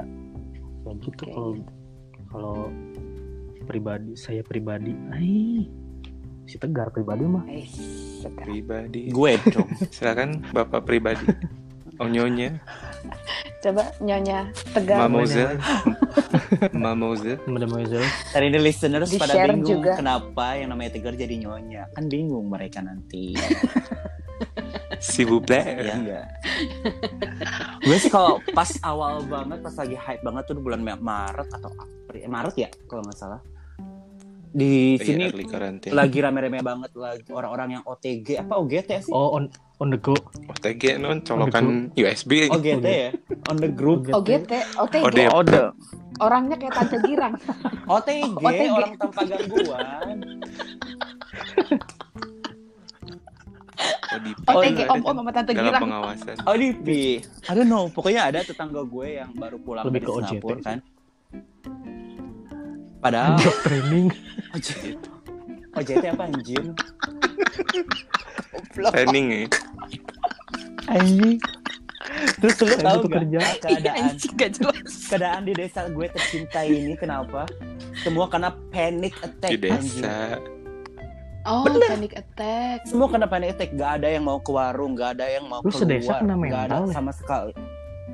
Speaker 2: gitu
Speaker 1: Oke.
Speaker 2: kalau kalau pribadi saya pribadi ai si tegar pribadi mah
Speaker 1: Eh, sekarang.
Speaker 4: pribadi
Speaker 3: gue dong
Speaker 4: silakan bapak pribadi onyonya
Speaker 1: coba nyonya tegar
Speaker 4: mamozel mamozel
Speaker 2: Mademoiselle
Speaker 3: Tadi ini listeners
Speaker 1: Di
Speaker 3: pada
Speaker 1: share
Speaker 3: bingung
Speaker 1: juga.
Speaker 3: kenapa yang namanya Tegar jadi nyonya kan bingung mereka nanti
Speaker 4: si buble
Speaker 3: Iya enggak. gue sih kalau pas awal banget, pas lagi hype banget tuh di bulan Ma- Maret atau April, eh, Maret ya kalau nggak salah. Di sini
Speaker 4: early quarantine.
Speaker 3: lagi rame-rame banget lagi orang-orang yang OTG apa OGT sih?
Speaker 2: oh on on the go
Speaker 4: OTG non colokan USB aja.
Speaker 3: OGT ya, on the group.
Speaker 1: OGT, OTG,
Speaker 4: ODP.
Speaker 1: Oh, orangnya kayak tante girang.
Speaker 3: OTG,
Speaker 1: OTG.
Speaker 3: orang tanpa gangguan.
Speaker 4: ODP.
Speaker 1: OTG,
Speaker 4: Ada
Speaker 1: Eh, om om sama tante
Speaker 4: Oh, iya. dalam
Speaker 1: girang.
Speaker 4: pengawasan
Speaker 3: ODP. Oh, I don't know, pokoknya ada tetangga gue yang baru pulang
Speaker 2: Lebih
Speaker 3: dari
Speaker 2: ke OJT
Speaker 3: Singapura
Speaker 2: sih.
Speaker 3: kan. Padahal
Speaker 2: job training
Speaker 3: OJT, OJT apa anjir?
Speaker 4: training ya.
Speaker 2: anjing
Speaker 3: Terus lu
Speaker 2: Saya butuh
Speaker 3: tahu nggak
Speaker 2: kerja.
Speaker 1: Iya,
Speaker 3: keadaan
Speaker 1: anjing gak jelas.
Speaker 3: keadaan di desa gue tercinta ini kenapa? Semua karena panic attack
Speaker 4: di
Speaker 3: anjing.
Speaker 4: desa
Speaker 1: Oh,
Speaker 3: Bener.
Speaker 1: panic attack.
Speaker 3: Semua kena panic attack, gak ada yang mau ke warung, gak ada yang mau
Speaker 2: Lu
Speaker 3: keluar,
Speaker 2: sedesa kena
Speaker 3: nggak ada
Speaker 2: mental ya?
Speaker 3: sama sekali.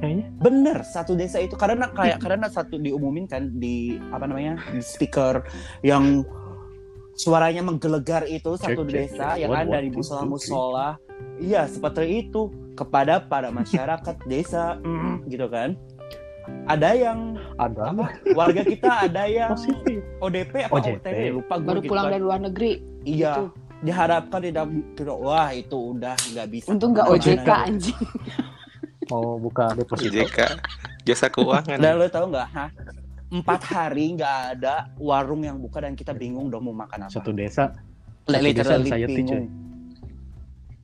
Speaker 2: kayaknya
Speaker 3: Bener, satu desa itu karena kayak karena satu diumumin kan di apa namanya di speaker yang suaranya menggelegar itu satu
Speaker 2: Cek, cek,
Speaker 3: desa ya
Speaker 2: cek.
Speaker 3: yang
Speaker 2: One,
Speaker 3: ada
Speaker 2: one,
Speaker 3: di
Speaker 2: two,
Speaker 3: musola
Speaker 2: two,
Speaker 3: musola. Iya seperti itu kepada para masyarakat desa mm, gitu kan. Ada yang
Speaker 2: ada
Speaker 3: apa warga kita ada yang
Speaker 2: positif
Speaker 3: ODP apa
Speaker 2: OJT.
Speaker 3: OTW lupa gue
Speaker 1: Baru
Speaker 3: gitu
Speaker 1: pulang
Speaker 3: kan.
Speaker 1: dari luar negeri.
Speaker 3: iya
Speaker 1: gitu.
Speaker 3: diharapkan tidak tidak wah itu udah nggak bisa
Speaker 1: Untung gak
Speaker 3: Kemana-mana.
Speaker 1: OJK anjing.
Speaker 2: mau Oh, buka deposito
Speaker 4: OJK jasa keuangan
Speaker 3: Dan lo tau nggak, hah? Empat hari nggak ada warung yang buka dan kita bingung dong mau makan apa.
Speaker 2: satu desa
Speaker 3: Like,
Speaker 2: satu desa
Speaker 3: literally
Speaker 2: anxiety,
Speaker 3: bingung.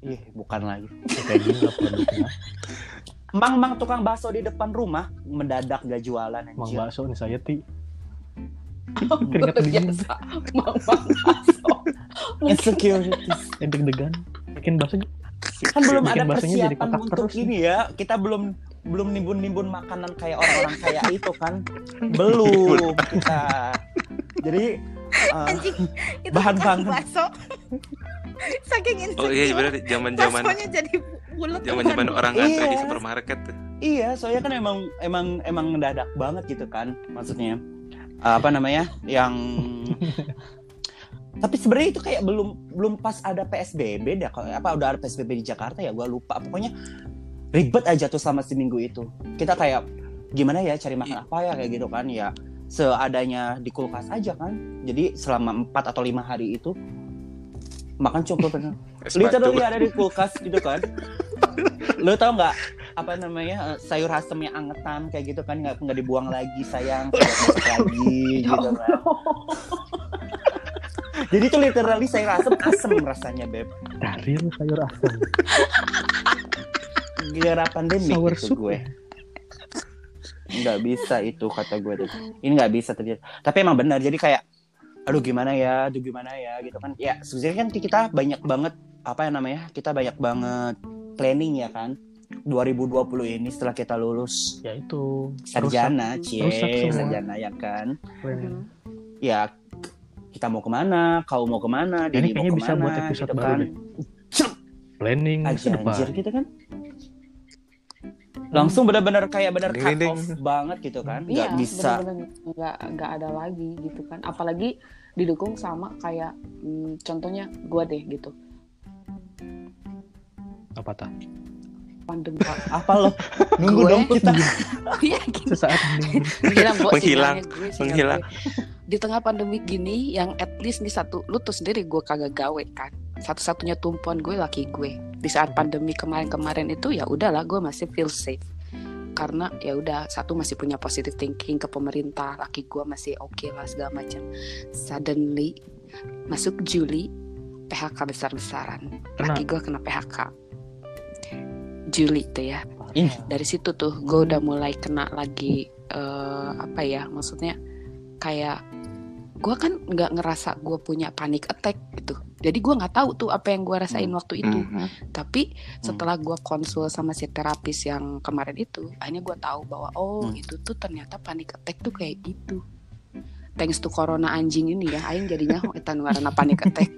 Speaker 3: Ih, bukan lagi.
Speaker 2: kayak gini nggak perlu dikenal.
Speaker 3: Mang mang tukang bakso di depan rumah mendadak gak jualan
Speaker 2: mang
Speaker 1: Iya.
Speaker 3: anjir.
Speaker 2: bakso nih saya ti
Speaker 1: Luar
Speaker 2: Keringat dingin.
Speaker 1: biasa. Mama Aso.
Speaker 3: Insecurities.
Speaker 2: eh deg-degan bikin bakso
Speaker 3: Kan belum
Speaker 2: Bikin
Speaker 3: ada
Speaker 2: baksonya jadi
Speaker 3: persiapan
Speaker 2: kotak
Speaker 3: untuk
Speaker 2: terus.
Speaker 3: ini ya. Kita belum belum nimbun-nimbun makanan kayak orang-orang kayak itu kan. Belum kita. Jadi eh,
Speaker 5: anjing itu
Speaker 1: kan
Speaker 3: Bahan
Speaker 5: tukang
Speaker 3: banget.
Speaker 5: bakso saking
Speaker 4: oh
Speaker 5: insecure
Speaker 4: iya benar zaman zaman
Speaker 5: baksonya jadi bulat
Speaker 4: zaman zaman orang ngantri di
Speaker 3: Iya.
Speaker 4: supermarket tuh.
Speaker 3: Iya, soalnya kan emang emang emang mendadak banget gitu kan, maksudnya apa namanya yang tapi sebenarnya itu kayak belum belum pas ada PSBB dah kalau apa udah ada PSBB di Jakarta ya gue lupa pokoknya ribet aja tuh selama seminggu itu kita kayak gimana ya cari makan apa ya kayak gitu kan ya seadanya di kulkas aja kan jadi selama 4 atau lima hari itu makan cuma pernah
Speaker 4: Es batu.
Speaker 3: literally ada di kulkas gitu kan lo tau nggak apa namanya eh, sayur asem yang angetan kayak gitu kan nggak nggak dibuang lagi sayang tidak masuk lagi gitu kan jadi tuh literally sayur asem asem rasanya beb
Speaker 2: dari lu sayur asam
Speaker 3: gara pandemi
Speaker 2: Sour
Speaker 3: itu
Speaker 2: soup
Speaker 3: gitu
Speaker 2: ya?
Speaker 3: gue nggak bisa itu kata gue tuh ini nggak bisa terjadi tapi emang benar jadi kayak aduh gimana ya aduh gimana ya gitu kan ya sebenarnya kan kita banyak banget apa yang namanya kita banyak banget planning ya kan 2020 ini setelah kita lulus
Speaker 2: ya itu
Speaker 3: sarjana cie
Speaker 2: Rusak semua.
Speaker 3: sarjana ya kan
Speaker 2: Rusak planning.
Speaker 3: ya kita mau kemana kau mau kemana
Speaker 2: ini
Speaker 3: Didi mau
Speaker 2: kayaknya bisa
Speaker 3: kemana
Speaker 2: buat episode
Speaker 3: gitu
Speaker 2: baru
Speaker 3: kan
Speaker 2: deh. planning masa
Speaker 3: anjir
Speaker 2: depan
Speaker 3: anjir gitu kan langsung benar-benar kayak benar
Speaker 4: Ding,
Speaker 3: cut
Speaker 4: ding,
Speaker 3: off banget gitu kan nggak
Speaker 1: Iya,
Speaker 3: bisa
Speaker 1: bener-bener nggak nggak ada lagi gitu kan. Apalagi didukung sama kayak hmm, contohnya gue deh gitu.
Speaker 2: apa tah
Speaker 1: Pandemi.
Speaker 3: apa loh nunggu
Speaker 1: Gue-
Speaker 3: dong kita
Speaker 1: Iya gitu.
Speaker 2: sesaat ini
Speaker 1: Gila, gua
Speaker 4: Menghilang,
Speaker 1: sinyalnya gue, sinyal
Speaker 4: menghilang.
Speaker 1: gue. Di tengah pandemi gini yang at least nih satu lu tuh sendiri gue kagak gawe kan. Satu-satunya tumpuan gue laki gue. Di saat
Speaker 4: Mhm.
Speaker 1: pandemi kemarin-kemarin itu ya udahlah gue masih feel safe. Karena ya udah satu masih punya positive thinking ke pemerintah, laki gue masih oke lah segala macam. Suddenly masuk Juli PHK besar-besaran. Laki gue kena PHK. Juli tuh ya
Speaker 3: Ih,
Speaker 1: dari situ tuh gue udah mulai kena lagi eh, apa ya maksudnya kayak gue kan nggak ngerasa gue punya panic attack gitu jadi gue nggak tahu tuh apa yang gue rasain
Speaker 3: Hmm.
Speaker 1: waktu itu
Speaker 4: Mhm.
Speaker 1: tapi setelah gue konsul sama si terapis yang kemarin itu akhirnya gue tahu bahwa oh
Speaker 3: Hmm.
Speaker 1: itu tuh ternyata panic attack tuh kayak gitu thanks to corona anjing ini ya aing jadinya etan warna panic attack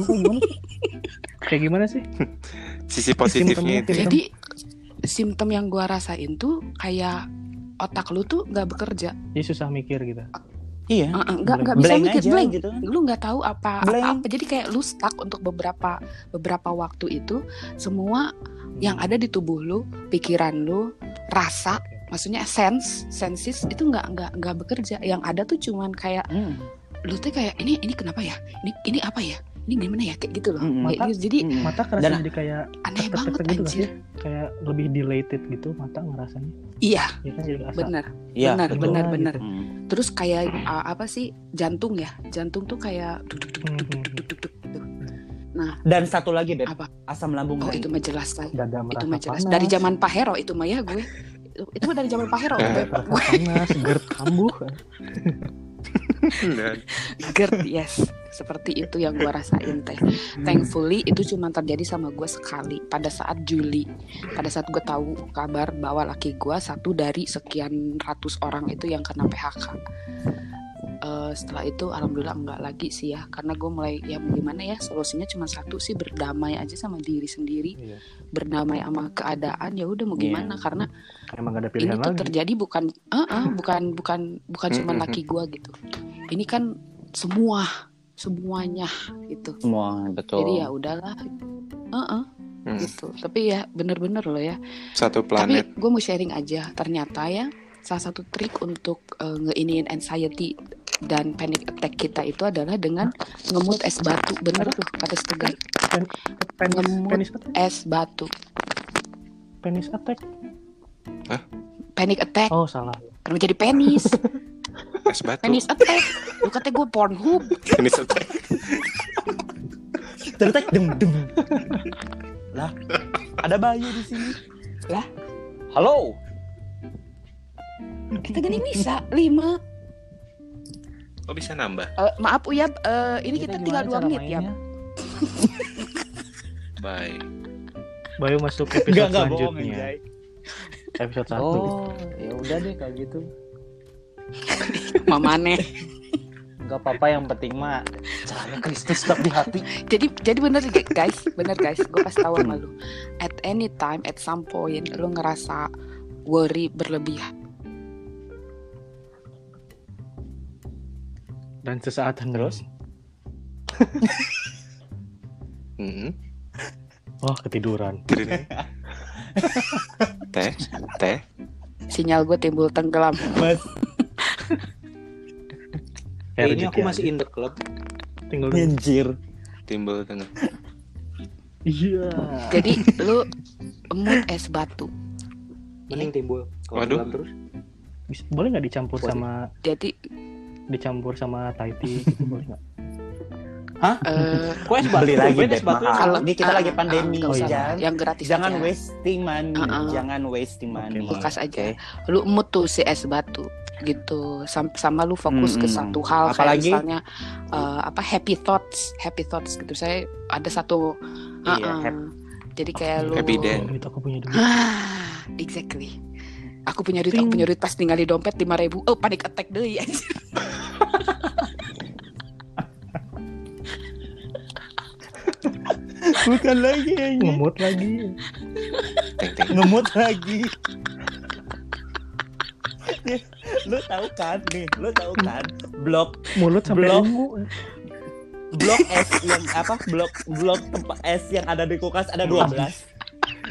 Speaker 2: Lu kayak gimana sih? kayak gimana sih
Speaker 4: sisi positifnya
Speaker 3: gitu.
Speaker 4: itu
Speaker 2: Simptom-nya
Speaker 1: Jadi simptom yang gua rasain tuh kayak otak lu tuh nggak bekerja.
Speaker 2: ya susah mikir gitu
Speaker 3: Iya.
Speaker 1: Heeh, nggak nggak bisa
Speaker 3: Blank
Speaker 1: mikir
Speaker 3: aja
Speaker 1: blank Iya,
Speaker 3: gitu.
Speaker 1: lu nggak tahu apa,
Speaker 3: Blank.
Speaker 1: apa apa jadi kayak lu stuck untuk beberapa beberapa waktu itu semua yang ada di tubuh lu pikiran lu rasa maksudnya sense senses itu nggak nggak nggak bekerja yang ada tuh cuman kayak
Speaker 3: Hmm.
Speaker 1: lu tuh kayak ini ini kenapa ya ini ini apa ya ini gimana ya kayak gitu loh
Speaker 3: Mm-mm.
Speaker 1: Kayak gitu. jadi
Speaker 3: Hmm.
Speaker 2: Mata kerasa
Speaker 3: Dan-
Speaker 2: jadi kayak
Speaker 1: aneh banget
Speaker 2: tek-tek-tek gitu nggak
Speaker 1: anjir
Speaker 2: sih? Kayak lebih dilated gitu mata ngerasanya.
Speaker 1: iya
Speaker 2: Ya kan jadi kerasa.
Speaker 1: bener
Speaker 3: Iya,
Speaker 1: bener
Speaker 3: betul.
Speaker 1: bener
Speaker 2: Gitu.
Speaker 1: bener
Speaker 3: Hmm.
Speaker 1: terus kayak uh, apa sih jantung ya jantung tuh kayak duk duk duk duk duk duk duk duk gitu.
Speaker 2: Hmm.
Speaker 3: Dan satu lagi Beb,
Speaker 1: Apa?
Speaker 3: asam lambung
Speaker 1: oh
Speaker 3: naik.
Speaker 1: itu mah jelas lah
Speaker 2: Dada merasa
Speaker 1: itu mah jelas
Speaker 2: panas.
Speaker 1: dari zaman Pak Hero itu mah ya gue itu, itu mah dari zaman Pak Hero
Speaker 4: Eh.
Speaker 1: gue
Speaker 2: Merasa panas, gerd kambuh.
Speaker 4: Dan
Speaker 1: GERD yes seperti itu yang gue rasain teh thankfully itu cuma terjadi sama gue sekali pada saat Juli pada saat gue tahu kabar bahwa laki gue satu dari sekian ratus orang itu yang kena PHK Eh, setelah itu alhamdulillah enggak lagi sih ya karena gue mulai ya mau gimana ya solusinya cuma satu sih berdamai aja sama diri sendiri
Speaker 2: Iya.
Speaker 1: berdamai sama keadaan ya udah mau
Speaker 3: Iya.
Speaker 1: gimana karena
Speaker 2: Emang gak ada
Speaker 1: ini
Speaker 2: pilihan
Speaker 1: tuh
Speaker 2: lagi.
Speaker 1: terjadi bukan ah ah, bukan bukan bukan cuma
Speaker 4: Mm, mm,
Speaker 1: laki gua gitu ini kan semua semuanya gitu
Speaker 3: Semua betul.
Speaker 1: jadi ya udahlah ah ah,
Speaker 4: Mm.
Speaker 1: gitu tapi ya bener-bener loh ya
Speaker 4: satu planet
Speaker 1: tapi gue mau sharing aja ternyata ya salah satu trik untuk eh, ngeiniin anxiety dan panic attack kita itu adalah dengan ngemut es batu bener tuh kata si tegar
Speaker 2: Penis,
Speaker 1: ngemut.
Speaker 2: penis attack.
Speaker 1: es batu
Speaker 2: Penis attack.
Speaker 1: panic attack
Speaker 2: Oh salah.
Speaker 1: karena jadi penis
Speaker 4: es batu
Speaker 1: penis attack lu kata gue pornhub
Speaker 4: penis attack
Speaker 3: Ternyata dem dem. lah, ada Bayu di sini. Lah, halo.
Speaker 1: kita gini bisa lima
Speaker 4: oh bisa nambah
Speaker 1: Eh, maaf Uyap, eh, ini kita tinggal dua menit ya.
Speaker 4: bye
Speaker 2: Bayu masuk
Speaker 3: Enggak
Speaker 2: episode
Speaker 3: enggak bohong
Speaker 2: selanjutnya.
Speaker 3: Anjay.
Speaker 2: Episode 1.
Speaker 6: Oh, ya udah deh kalau gitu.
Speaker 1: Mamane.
Speaker 6: Enggak apa-apa yang penting mah cahaya Kristus tetap di hati.
Speaker 1: jadi jadi bener gu- guys, bener guys, gue kasih tahu sama lu. At any time, at some point, lu ngerasa worry berlebihan.
Speaker 2: Dan sesaat terus.
Speaker 4: Mm-mm.
Speaker 3: Hmm.
Speaker 2: Wah Oh, ketiduran.
Speaker 4: Gini Hmm. nih. teh teh
Speaker 1: Sinyal gue timbul tenggelam.
Speaker 3: Mas,
Speaker 2: Kayak
Speaker 6: ini
Speaker 2: rezeki
Speaker 6: aku masih
Speaker 2: aja.
Speaker 6: in the club.
Speaker 2: tinggal dulu.
Speaker 3: anjir.
Speaker 4: timbul tengah
Speaker 2: Iya.
Speaker 1: Jadi lu emut es batu.
Speaker 6: Mending timbul. Kalau
Speaker 4: Waduh.
Speaker 6: club terus.
Speaker 2: Bisa- Boleh nggak dicampur
Speaker 6: Boleh.
Speaker 2: sama
Speaker 1: Jadi
Speaker 2: dicampur sama Thai tea gitu boleh nggak?
Speaker 1: eh
Speaker 6: Kok es batu?
Speaker 3: Beli lagi
Speaker 6: Ben,
Speaker 3: Beb,
Speaker 6: es batu.
Speaker 3: mahal.
Speaker 1: kalau
Speaker 3: Ini kita
Speaker 1: ah,
Speaker 3: lagi
Speaker 1: ah,
Speaker 3: pandemi,
Speaker 1: nggak usah Ya, Ah, lah,
Speaker 3: jangan
Speaker 1: yang gratis
Speaker 3: jangan
Speaker 1: aja.
Speaker 3: wasting money,
Speaker 1: Heeh.
Speaker 3: jangan wasting money.
Speaker 2: Oke,
Speaker 1: Kulkas aja.
Speaker 3: Oke.
Speaker 1: lu emut tuh si es batu gitu sama, sama lu fokus ke
Speaker 3: Mm-mm.
Speaker 1: satu hal kayak
Speaker 3: Hmm, Apalagi-
Speaker 1: misalnya eh, apa happy thoughts happy thoughts gitu saya ada satu
Speaker 3: Iya,
Speaker 1: uh-uh.
Speaker 3: hap-
Speaker 1: jadi kayak lu
Speaker 4: Happy day.
Speaker 2: Oh, duit aku punya duit.
Speaker 1: Ah, exactly aku punya duit aku punya duit pas tinggal di dompet lima ribu oh panik attack deh ya
Speaker 3: Bukan lagi anjir.
Speaker 2: Ngemut lagi.
Speaker 4: teng teng
Speaker 3: ngemut lagi Nih, lu tahu kan nih lu tahu kan blok
Speaker 2: Mulut sampai
Speaker 3: Blok.
Speaker 2: lingu.
Speaker 3: blok es yang apa blok blok tempat es yang ada di kulkas ada 12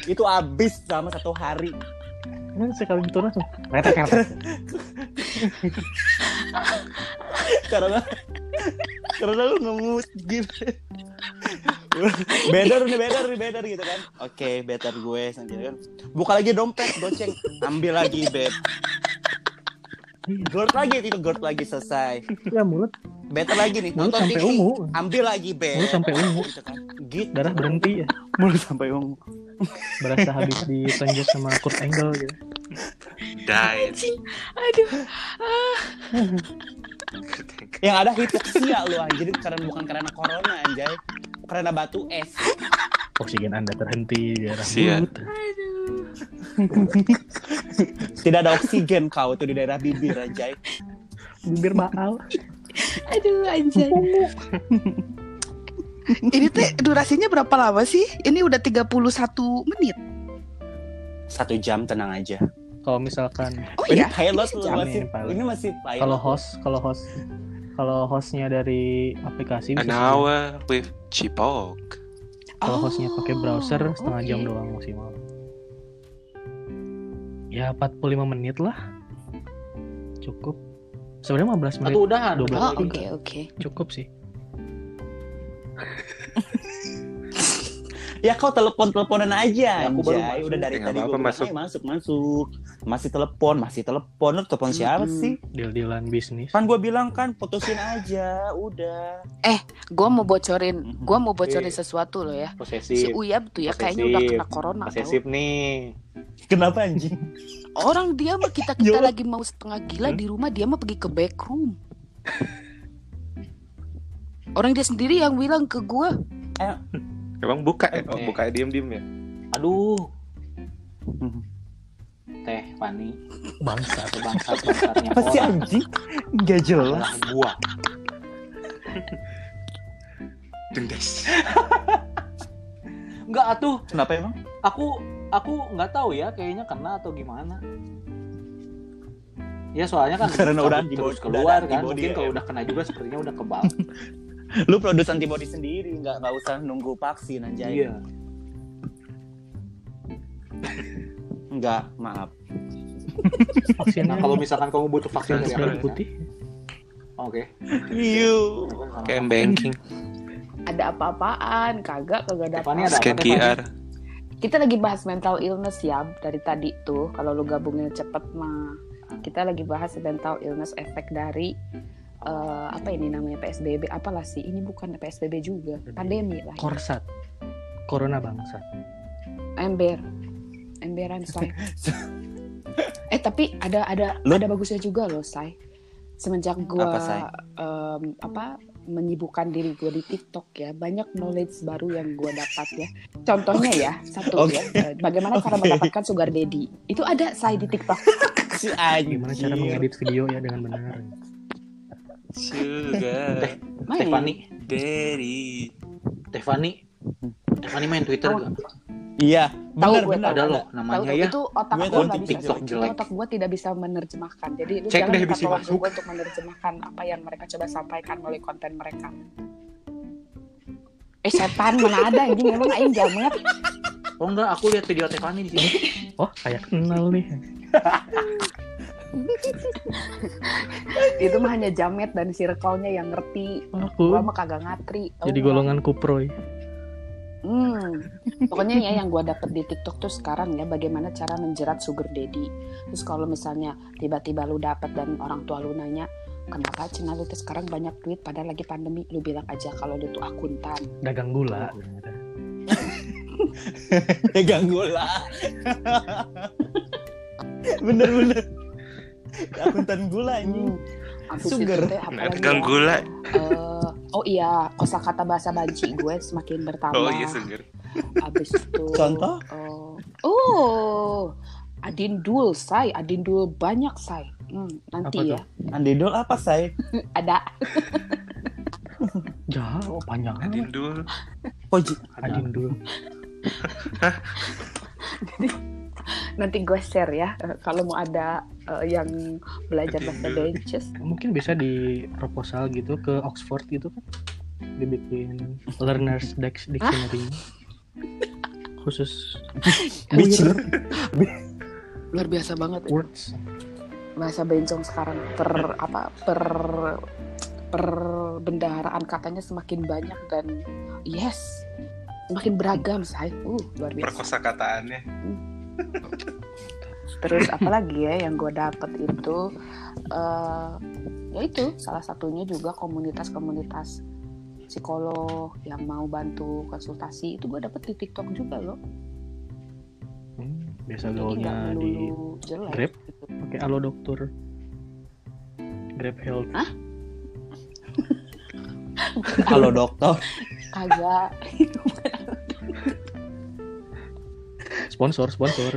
Speaker 3: itu habis selama satu hari
Speaker 2: Kan sekali gitu langsung. Retek retek.
Speaker 3: karena karena lu ngemut gitu better nih better nih better gitu kan oke better gue sendiri kan buka lagi dompet goceng ambil lagi beb Gord lagi itu gord lagi selesai.
Speaker 2: Ya mulut
Speaker 3: Better lagi nih.
Speaker 2: mulut
Speaker 3: nonton
Speaker 2: sampai
Speaker 3: TV.
Speaker 2: ungu.
Speaker 3: ambil lagi beb
Speaker 2: Mulut sampai ungu.
Speaker 3: gitu kan gitu
Speaker 2: Darah berhenti ya.
Speaker 3: mulut sampai ungu
Speaker 2: Berasa habis ditonjok sama Kurt Angle gitu.
Speaker 4: diet
Speaker 1: aduh
Speaker 3: yang ada hipoksia lu anjir karena bukan karena corona anjay karena batu Eh, es
Speaker 2: Oksigen Anda terhenti di daerah
Speaker 4: Sian.
Speaker 2: mulut.
Speaker 3: tidak ada oksigen kau tuh di daerah bibir anjay
Speaker 2: Bibir mahal.
Speaker 1: aduh anjay ini teh durasinya berapa lama sih ini udah 31 menit
Speaker 3: satu jam tenang aja
Speaker 2: kalau misalkan
Speaker 1: Oh
Speaker 3: ini
Speaker 1: iya.
Speaker 3: pilot
Speaker 1: ini
Speaker 3: loh,
Speaker 1: jamin,
Speaker 3: masih
Speaker 2: pilot.
Speaker 3: ini masih pilot
Speaker 2: kalau host kalau host kalau hostnya dari aplikasi bisa
Speaker 4: An
Speaker 2: sejam.
Speaker 4: hour with Cipok.
Speaker 2: kalau
Speaker 1: Oh,
Speaker 2: hostnya pakai browser setengah
Speaker 1: oke.
Speaker 6: iya.
Speaker 2: jam doang maksimal ya 45 menit lah cukup sebenarnya 15 menit
Speaker 6: Atau Ah. udahan.
Speaker 2: 12
Speaker 1: Oh,
Speaker 2: menit
Speaker 1: oke, oke.
Speaker 2: cukup sih
Speaker 3: ya kau telepon teleponan aja
Speaker 6: Ya, aku baru
Speaker 3: anjay.
Speaker 6: masuk.
Speaker 3: udah dari tadi
Speaker 4: Ya, nggak
Speaker 3: gua
Speaker 4: apa-apa,
Speaker 3: bilang,
Speaker 4: masuk.
Speaker 3: "Hey, masuk masuk masih telepon masih telepon lu telepon siapa
Speaker 1: Mm-mm.
Speaker 3: sih
Speaker 2: deal-dealan bisnis
Speaker 3: kan gua bilang kan putusin aja udah
Speaker 1: Gua mau bocorin,
Speaker 3: Mhm.
Speaker 1: gua mau bocorin
Speaker 6: Oke.
Speaker 1: sesuatu loh ya. Si
Speaker 6: Posesif.
Speaker 1: Uyab tuh ya kayaknya udah
Speaker 6: Posesif.
Speaker 1: kena corona tau.
Speaker 6: Posesif nih.
Speaker 3: kenapa anjing
Speaker 1: Orang dia mah kita kita
Speaker 3: Yo.
Speaker 1: lagi mau setengah gila di rumah dia mah pergi ke back room. Orang dia sendiri yang bilang ke gua,
Speaker 4: Emang buka ya? Oh,
Speaker 6: Oke.
Speaker 4: buka ya diem-diem ya?
Speaker 6: Aduh.
Speaker 3: Mhm.
Speaker 6: Teh, Fani.
Speaker 2: bangsa
Speaker 6: Bangsat, bangsatnya
Speaker 3: apa sih
Speaker 6: orang.
Speaker 3: anjing nggak jelas
Speaker 6: Adalah gua.
Speaker 4: Dendes.
Speaker 6: Enggak atuh.
Speaker 3: kenapa emang
Speaker 6: Aku aku nggak tahu ya kayaknya kena atau gimana. Ya soalnya kan
Speaker 3: Karena udah antibody-
Speaker 6: terus
Speaker 3: udah
Speaker 6: keluar
Speaker 3: ada
Speaker 6: kan
Speaker 3: antibody
Speaker 6: mungkin
Speaker 3: ya.
Speaker 6: kalau udah kena juga sepertinya udah kebal.
Speaker 3: lu produsen antibody sendiri nggak nggak usah nunggu vaksin anjay
Speaker 6: Iya.
Speaker 3: nggak maaf
Speaker 2: vaksinnya
Speaker 6: Nah kalau misalkan kamu butuh vaksin ya.
Speaker 4: Vaksin
Speaker 6: dari
Speaker 4: merah
Speaker 2: vaksin
Speaker 6: aku,
Speaker 2: putih
Speaker 6: Oke.
Speaker 3: Iu.
Speaker 4: Kayak banking.
Speaker 1: ada apa-apaan, kagak kagak ada
Speaker 6: Depannya
Speaker 1: apa-apa.
Speaker 6: ada-
Speaker 4: Scan QR.
Speaker 1: Kita lagi bahas mental illness ya dari tadi tuh. Kalau lu gabungin cepet mah. Kita lagi bahas mental illness efek dari eh, apa ini namanya PSBB apalah sih ini bukan PSBB juga pandemi lah
Speaker 2: korsat corona bangsa
Speaker 1: ember emberan say eh tapi ada ada
Speaker 3: Lu-
Speaker 1: ada bagusnya juga loh say semenjak gua
Speaker 3: Apa, Say?
Speaker 1: em, apa menyibukkan diri gua di TikTok ya banyak knowledge baru yang gua dapat ya contohnya ya satu
Speaker 3: Oke.
Speaker 1: ya eh, bagaimana cara
Speaker 3: Oke.
Speaker 1: mendapatkan sugar daddy itu ada say di TikTok
Speaker 3: si anjing
Speaker 2: gimana cara
Speaker 6: Iya.
Speaker 2: mengedit video ya dengan benar
Speaker 4: Sugar
Speaker 1: main
Speaker 6: Tefani,
Speaker 4: daddy.
Speaker 6: Tefani, Tefani main Twitter
Speaker 1: Tahu.
Speaker 6: gak?
Speaker 3: iya
Speaker 1: Tahu
Speaker 3: benar
Speaker 1: gue,
Speaker 3: benar
Speaker 6: Ada
Speaker 1: tahu.
Speaker 6: loh
Speaker 1: tahu
Speaker 6: namanya
Speaker 1: tuh,
Speaker 6: ya.
Speaker 1: itu otak
Speaker 3: Gue
Speaker 1: gue
Speaker 3: tahu
Speaker 1: nggak
Speaker 3: di
Speaker 1: bisa
Speaker 6: TikTok
Speaker 1: itu
Speaker 6: jelek.
Speaker 1: otak gue tidak bisa menerjemahkan jadi lu
Speaker 6: Cek
Speaker 1: jangan
Speaker 6: deh,
Speaker 1: minta
Speaker 6: bisa
Speaker 1: tolong ke
Speaker 6: masuk.
Speaker 1: gue untuk menerjemahkan apa yang mereka coba sampaikan melalui konten mereka eh setan mana ada anjing memang aing jamet
Speaker 6: Oh enggak, aku lihat video Tefani di sini.
Speaker 2: oh kayak kenal nih
Speaker 1: itu mah hanya jamet dan circle-nya yang ngerti
Speaker 2: aku
Speaker 1: gue mah kagak ngatri tau
Speaker 2: jadi
Speaker 1: nggak?
Speaker 2: golongan kuproy
Speaker 1: Hmm. Pokoknya ya yang gue dapet di TikTok tuh sekarang ya bagaimana cara menjerat sugar daddy. Terus kalau misalnya tiba-tiba lu dapet dan orang tua lu nanya kenapa Cina lu tuh sekarang banyak duit padahal lagi pandemi lu bilang aja kalau lu tuh akuntan.
Speaker 2: dagang gula
Speaker 3: pegang gula bener bener akuntan gula anjing
Speaker 1: Hmm. Abis itu
Speaker 3: Sugar.
Speaker 1: teh
Speaker 4: Nah,
Speaker 1: apalagi
Speaker 4: kan
Speaker 1: ya?
Speaker 4: gula.
Speaker 1: Eh, oh iya kosakata bahasa banci gue semakin bertambah.
Speaker 4: Oh iya sugar.
Speaker 1: Abis itu
Speaker 3: Contoh?
Speaker 1: eh, oh adindul say adindul banyak say. Hmm, nanti
Speaker 2: Apa
Speaker 1: ya
Speaker 3: andedol apa say
Speaker 1: ada
Speaker 2: jauh panjang
Speaker 4: Adin dulu.
Speaker 3: Koji
Speaker 2: adin dulu
Speaker 1: nanti gue share ya eh, kalau mau ada eh, yang belajar bahasa Dutch
Speaker 2: mungkin bisa di proposal gitu ke Oxford gitu kan dibikin learners dex dictionary khusus
Speaker 3: Dictionary.
Speaker 1: luar biasa banget ya.
Speaker 2: words
Speaker 1: bahasa bencong sekarang per apa per perbendaharaan katanya semakin banyak dan yes semakin beragam say uh luar biasa
Speaker 4: Perkosa kataannya.
Speaker 1: terus apalagi ya yang gue dapet itu eh, ya itu salah satunya juga komunitas-komunitas psikolog yang mau bantu konsultasi itu gue dapet di TikTok juga loh
Speaker 2: Hmm, biasa
Speaker 1: jadi nggak
Speaker 2: gaulnya di
Speaker 1: melulu jelek
Speaker 2: Grab?
Speaker 1: gitu.
Speaker 2: pakai alo dokter grab health
Speaker 3: halo dokter
Speaker 1: kagak
Speaker 2: sponsor sponsor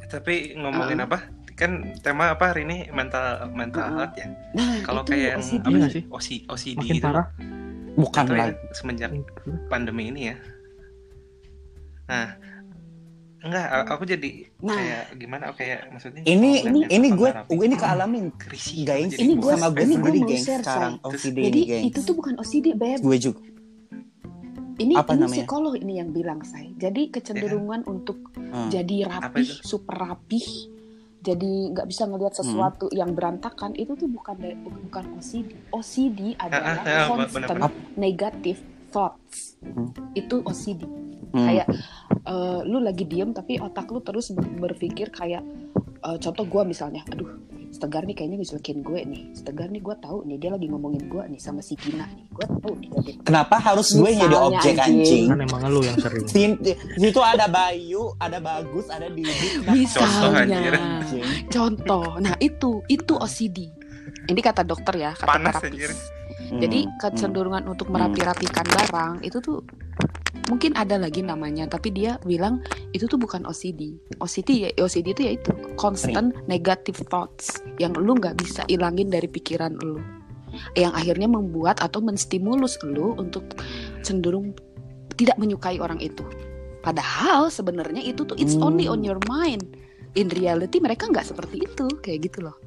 Speaker 4: Eh, Tapi ngomongin apa? Kan tema apa hari ini mental mental
Speaker 1: Uh-uh.
Speaker 4: health ya.
Speaker 1: Nah,
Speaker 4: Kalau
Speaker 1: itu
Speaker 4: kayak yang
Speaker 1: OCD.
Speaker 4: apa
Speaker 2: Iya
Speaker 4: sih? OC, OCD
Speaker 2: makin
Speaker 4: gitu.
Speaker 2: parah
Speaker 3: bukan
Speaker 4: Itu ya,
Speaker 3: lagi
Speaker 4: semenjak pandemi ini ya. Nah, enggak a- aku jadi
Speaker 1: Nah.
Speaker 4: kayak gimana kayak maksudnya
Speaker 3: Ini ini
Speaker 4: online yang
Speaker 3: ini gue oh,
Speaker 4: tambah rapi.
Speaker 3: ini kealamin
Speaker 4: Krisi,
Speaker 3: geng
Speaker 4: jadi
Speaker 1: ini
Speaker 3: ini
Speaker 1: gua-
Speaker 3: gue
Speaker 4: bosan.
Speaker 3: sama gue
Speaker 1: ini gua
Speaker 3: sendiri
Speaker 1: mau
Speaker 3: geng
Speaker 1: share,
Speaker 3: sekarang
Speaker 4: Shay.
Speaker 3: OCD
Speaker 1: Jadi
Speaker 3: ini geng
Speaker 1: itu tuh bukan OCD, Beb.
Speaker 3: gue juga
Speaker 1: Ini,
Speaker 3: Apa
Speaker 1: ini
Speaker 3: namanya?
Speaker 1: psikolog ini yang bilang, saya. Jadi kecenderungan untuk
Speaker 3: Hmm.
Speaker 1: jadi
Speaker 4: Iya kan? Apa
Speaker 1: rapih,
Speaker 4: itu?
Speaker 1: super rapih, jadi nggak bisa
Speaker 3: Hmm.
Speaker 1: ngelihat sesuatu yang berantakan itu tuh bukan dari- bukan OCD. OCD adalah
Speaker 4: ah, ah,
Speaker 1: constant
Speaker 4: benar-benar.
Speaker 1: negative thoughts.
Speaker 3: Hmm.
Speaker 1: Itu OCD.
Speaker 3: Hmm.
Speaker 1: kayak eh, lu lagi diem tapi otak lu terus ber- berpikir kayak eh, contoh gua misalnya aduh Stegar nih kayaknya ngejuekin gue nih Stegar nih gue tahu nih dia lagi ngomongin gue nih sama si Gina nih gue tahu nih dia dia-
Speaker 3: kenapa harus gue yang jadi
Speaker 1: Misalnya,
Speaker 3: objek
Speaker 1: anjing.
Speaker 3: anjing
Speaker 2: kan emang lu yang sering
Speaker 3: Sin- di situ ada Bayu ada Bagus ada Didi Kenapa
Speaker 4: Contoh,
Speaker 1: misalnya
Speaker 4: anjir.
Speaker 3: anjing?
Speaker 1: contoh nah itu itu OCD ini kata dokter ya kata
Speaker 4: Panas,
Speaker 1: terapis
Speaker 4: anjir.
Speaker 1: jadi
Speaker 3: Hmm,
Speaker 1: kecenderungan untuk merapi-rapikan barang itu tuh mungkin ada lagi namanya tapi dia bilang itu tuh bukan OCD OCD ya OCD itu ya itu constant negative thoughts yang lu nggak bisa ilangin dari pikiran lu yang akhirnya membuat atau menstimulus lu untuk cenderung tidak menyukai orang itu padahal sebenarnya itu tuh it's only on
Speaker 3: Hmm.
Speaker 1: your mind in reality mereka nggak seperti itu kayak gitu loh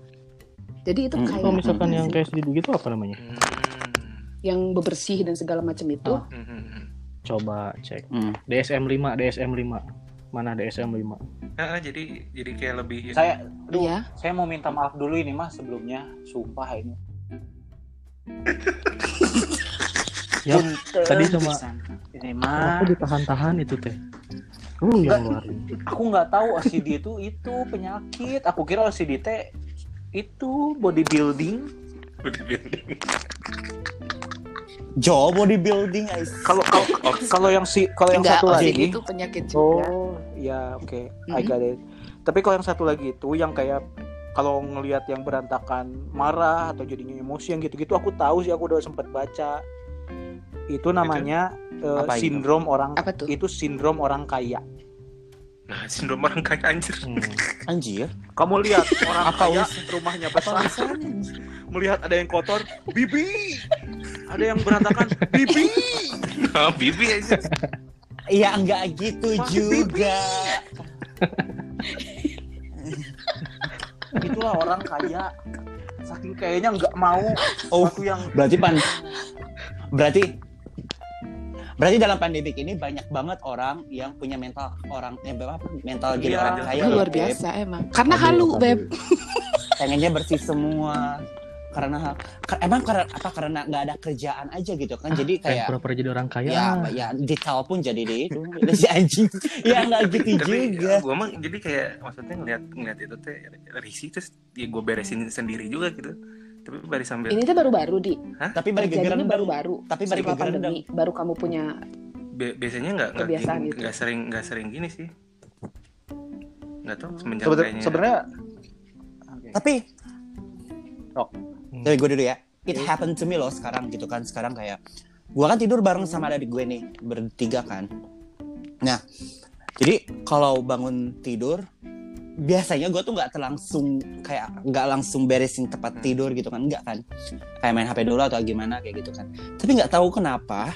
Speaker 1: jadi itu
Speaker 3: Hmm.
Speaker 1: kayak
Speaker 2: kalau Oh, misalkan yang kayak sedih gitu apa namanya
Speaker 4: Hmm,
Speaker 1: yang bebersih dan segala macam itu
Speaker 2: Ah.
Speaker 4: hmm,
Speaker 2: coba cek
Speaker 3: Hmm.
Speaker 2: DSM 5 DSM 5 mana DSM 5
Speaker 4: Nah, ah, jadi jadi kayak lebih
Speaker 6: Saya, aduh,
Speaker 1: ya
Speaker 6: saya mau minta maaf dulu ini mas sebelumnya, sumpah ini.
Speaker 2: Ya,
Speaker 6: Punten
Speaker 2: tadi sama-
Speaker 6: pisan. ini
Speaker 2: aku
Speaker 6: mah
Speaker 2: ditahan-tahan itu teh lu yang ngeluarin
Speaker 6: aku nggak tahu OCD itu itu penyakit. Aku kira OCD teh itu bodybuilding.
Speaker 3: Jo bodybuilding guys
Speaker 6: Kalau kalau kalau yang si kalau yang
Speaker 1: Enggak,
Speaker 6: satu
Speaker 1: OCD
Speaker 6: lagi
Speaker 1: itu penyakit juga.
Speaker 6: Oh, ya oke. I
Speaker 1: Mhm.
Speaker 6: got it. Tapi kalau yang satu lagi itu yang kayak kalau ngelihat yang berantakan marah atau jadinya emosi yang gitu-gitu aku tahu sih aku udah sempat baca. Itu namanya eh,
Speaker 3: Apa itu?
Speaker 6: sindrom orang
Speaker 1: Apa tuh?
Speaker 6: itu sindrom orang kaya.
Speaker 4: nah sindrom orang kaya anjir
Speaker 2: Hmm.
Speaker 3: anjir
Speaker 6: Kamu lihat orang
Speaker 3: Apa
Speaker 6: kaya rumahnya besar, melihat ada yang kotor, bibi. Ada yang berantakan, bibi.
Speaker 4: Ah, bibi aja
Speaker 3: ya enggak gitu
Speaker 6: Wah,
Speaker 3: juga
Speaker 6: Itulah orang kaya. Saking kayaknya nggak mau
Speaker 3: oh
Speaker 6: aku yang
Speaker 3: berarti pan berarti berarti dalam pandemik ini banyak banget orang yang punya mental orang eh, apa mental jadi
Speaker 6: Iya.
Speaker 3: orang kaya
Speaker 1: Itu
Speaker 3: loh,
Speaker 1: luar
Speaker 3: Beb.
Speaker 1: biasa emang. Karena
Speaker 2: Aduh,
Speaker 1: halu,
Speaker 2: aduh.
Speaker 1: Beb.
Speaker 3: pengennya bersih semua karena ke- emang karena apa karena nggak ada kerjaan aja gitu
Speaker 1: Ah,
Speaker 3: kan jadi
Speaker 2: kayak
Speaker 3: kayak
Speaker 2: pura-pura jadi orang kaya
Speaker 3: ya apa, ya detail pun jadi deh itu si anjing ya nggak gitu
Speaker 4: tapi
Speaker 3: juga
Speaker 4: gue mah jadi kayak maksudnya ngeliat ngeliat itu teh risih terus ya gue beresin sendiri juga gitu tapi baru sambil
Speaker 1: Ini tuh baru-baru di
Speaker 3: tapi balik ke
Speaker 1: terjadinya
Speaker 3: gerendeng.
Speaker 1: baru-baru.
Speaker 3: tapi balik ke
Speaker 1: Setelah
Speaker 3: gerendeng.
Speaker 1: pandemi baru kamu punya
Speaker 4: Bi- biasanya nggak nggak
Speaker 1: Kebiasaan
Speaker 4: gini-
Speaker 1: gitu.
Speaker 4: nggak sering nggak sering gini sih nggak tahu semenjak
Speaker 6: Sebetulnya
Speaker 4: kayaknya
Speaker 6: sebenarnya
Speaker 3: tapi
Speaker 6: Oh.
Speaker 3: dari gue dulu ya it happened to me loh sekarang gitu kan sekarang kayak gue kan tidur bareng sama adik gue nih bertiga kan nah jadi kalau bangun tidur biasanya gue tuh nggak terlangsung kayak nggak langsung beresin tempat tidur gitu kan nggak kan kayak main hp dulu atau gimana kayak gitu kan tapi nggak tahu kenapa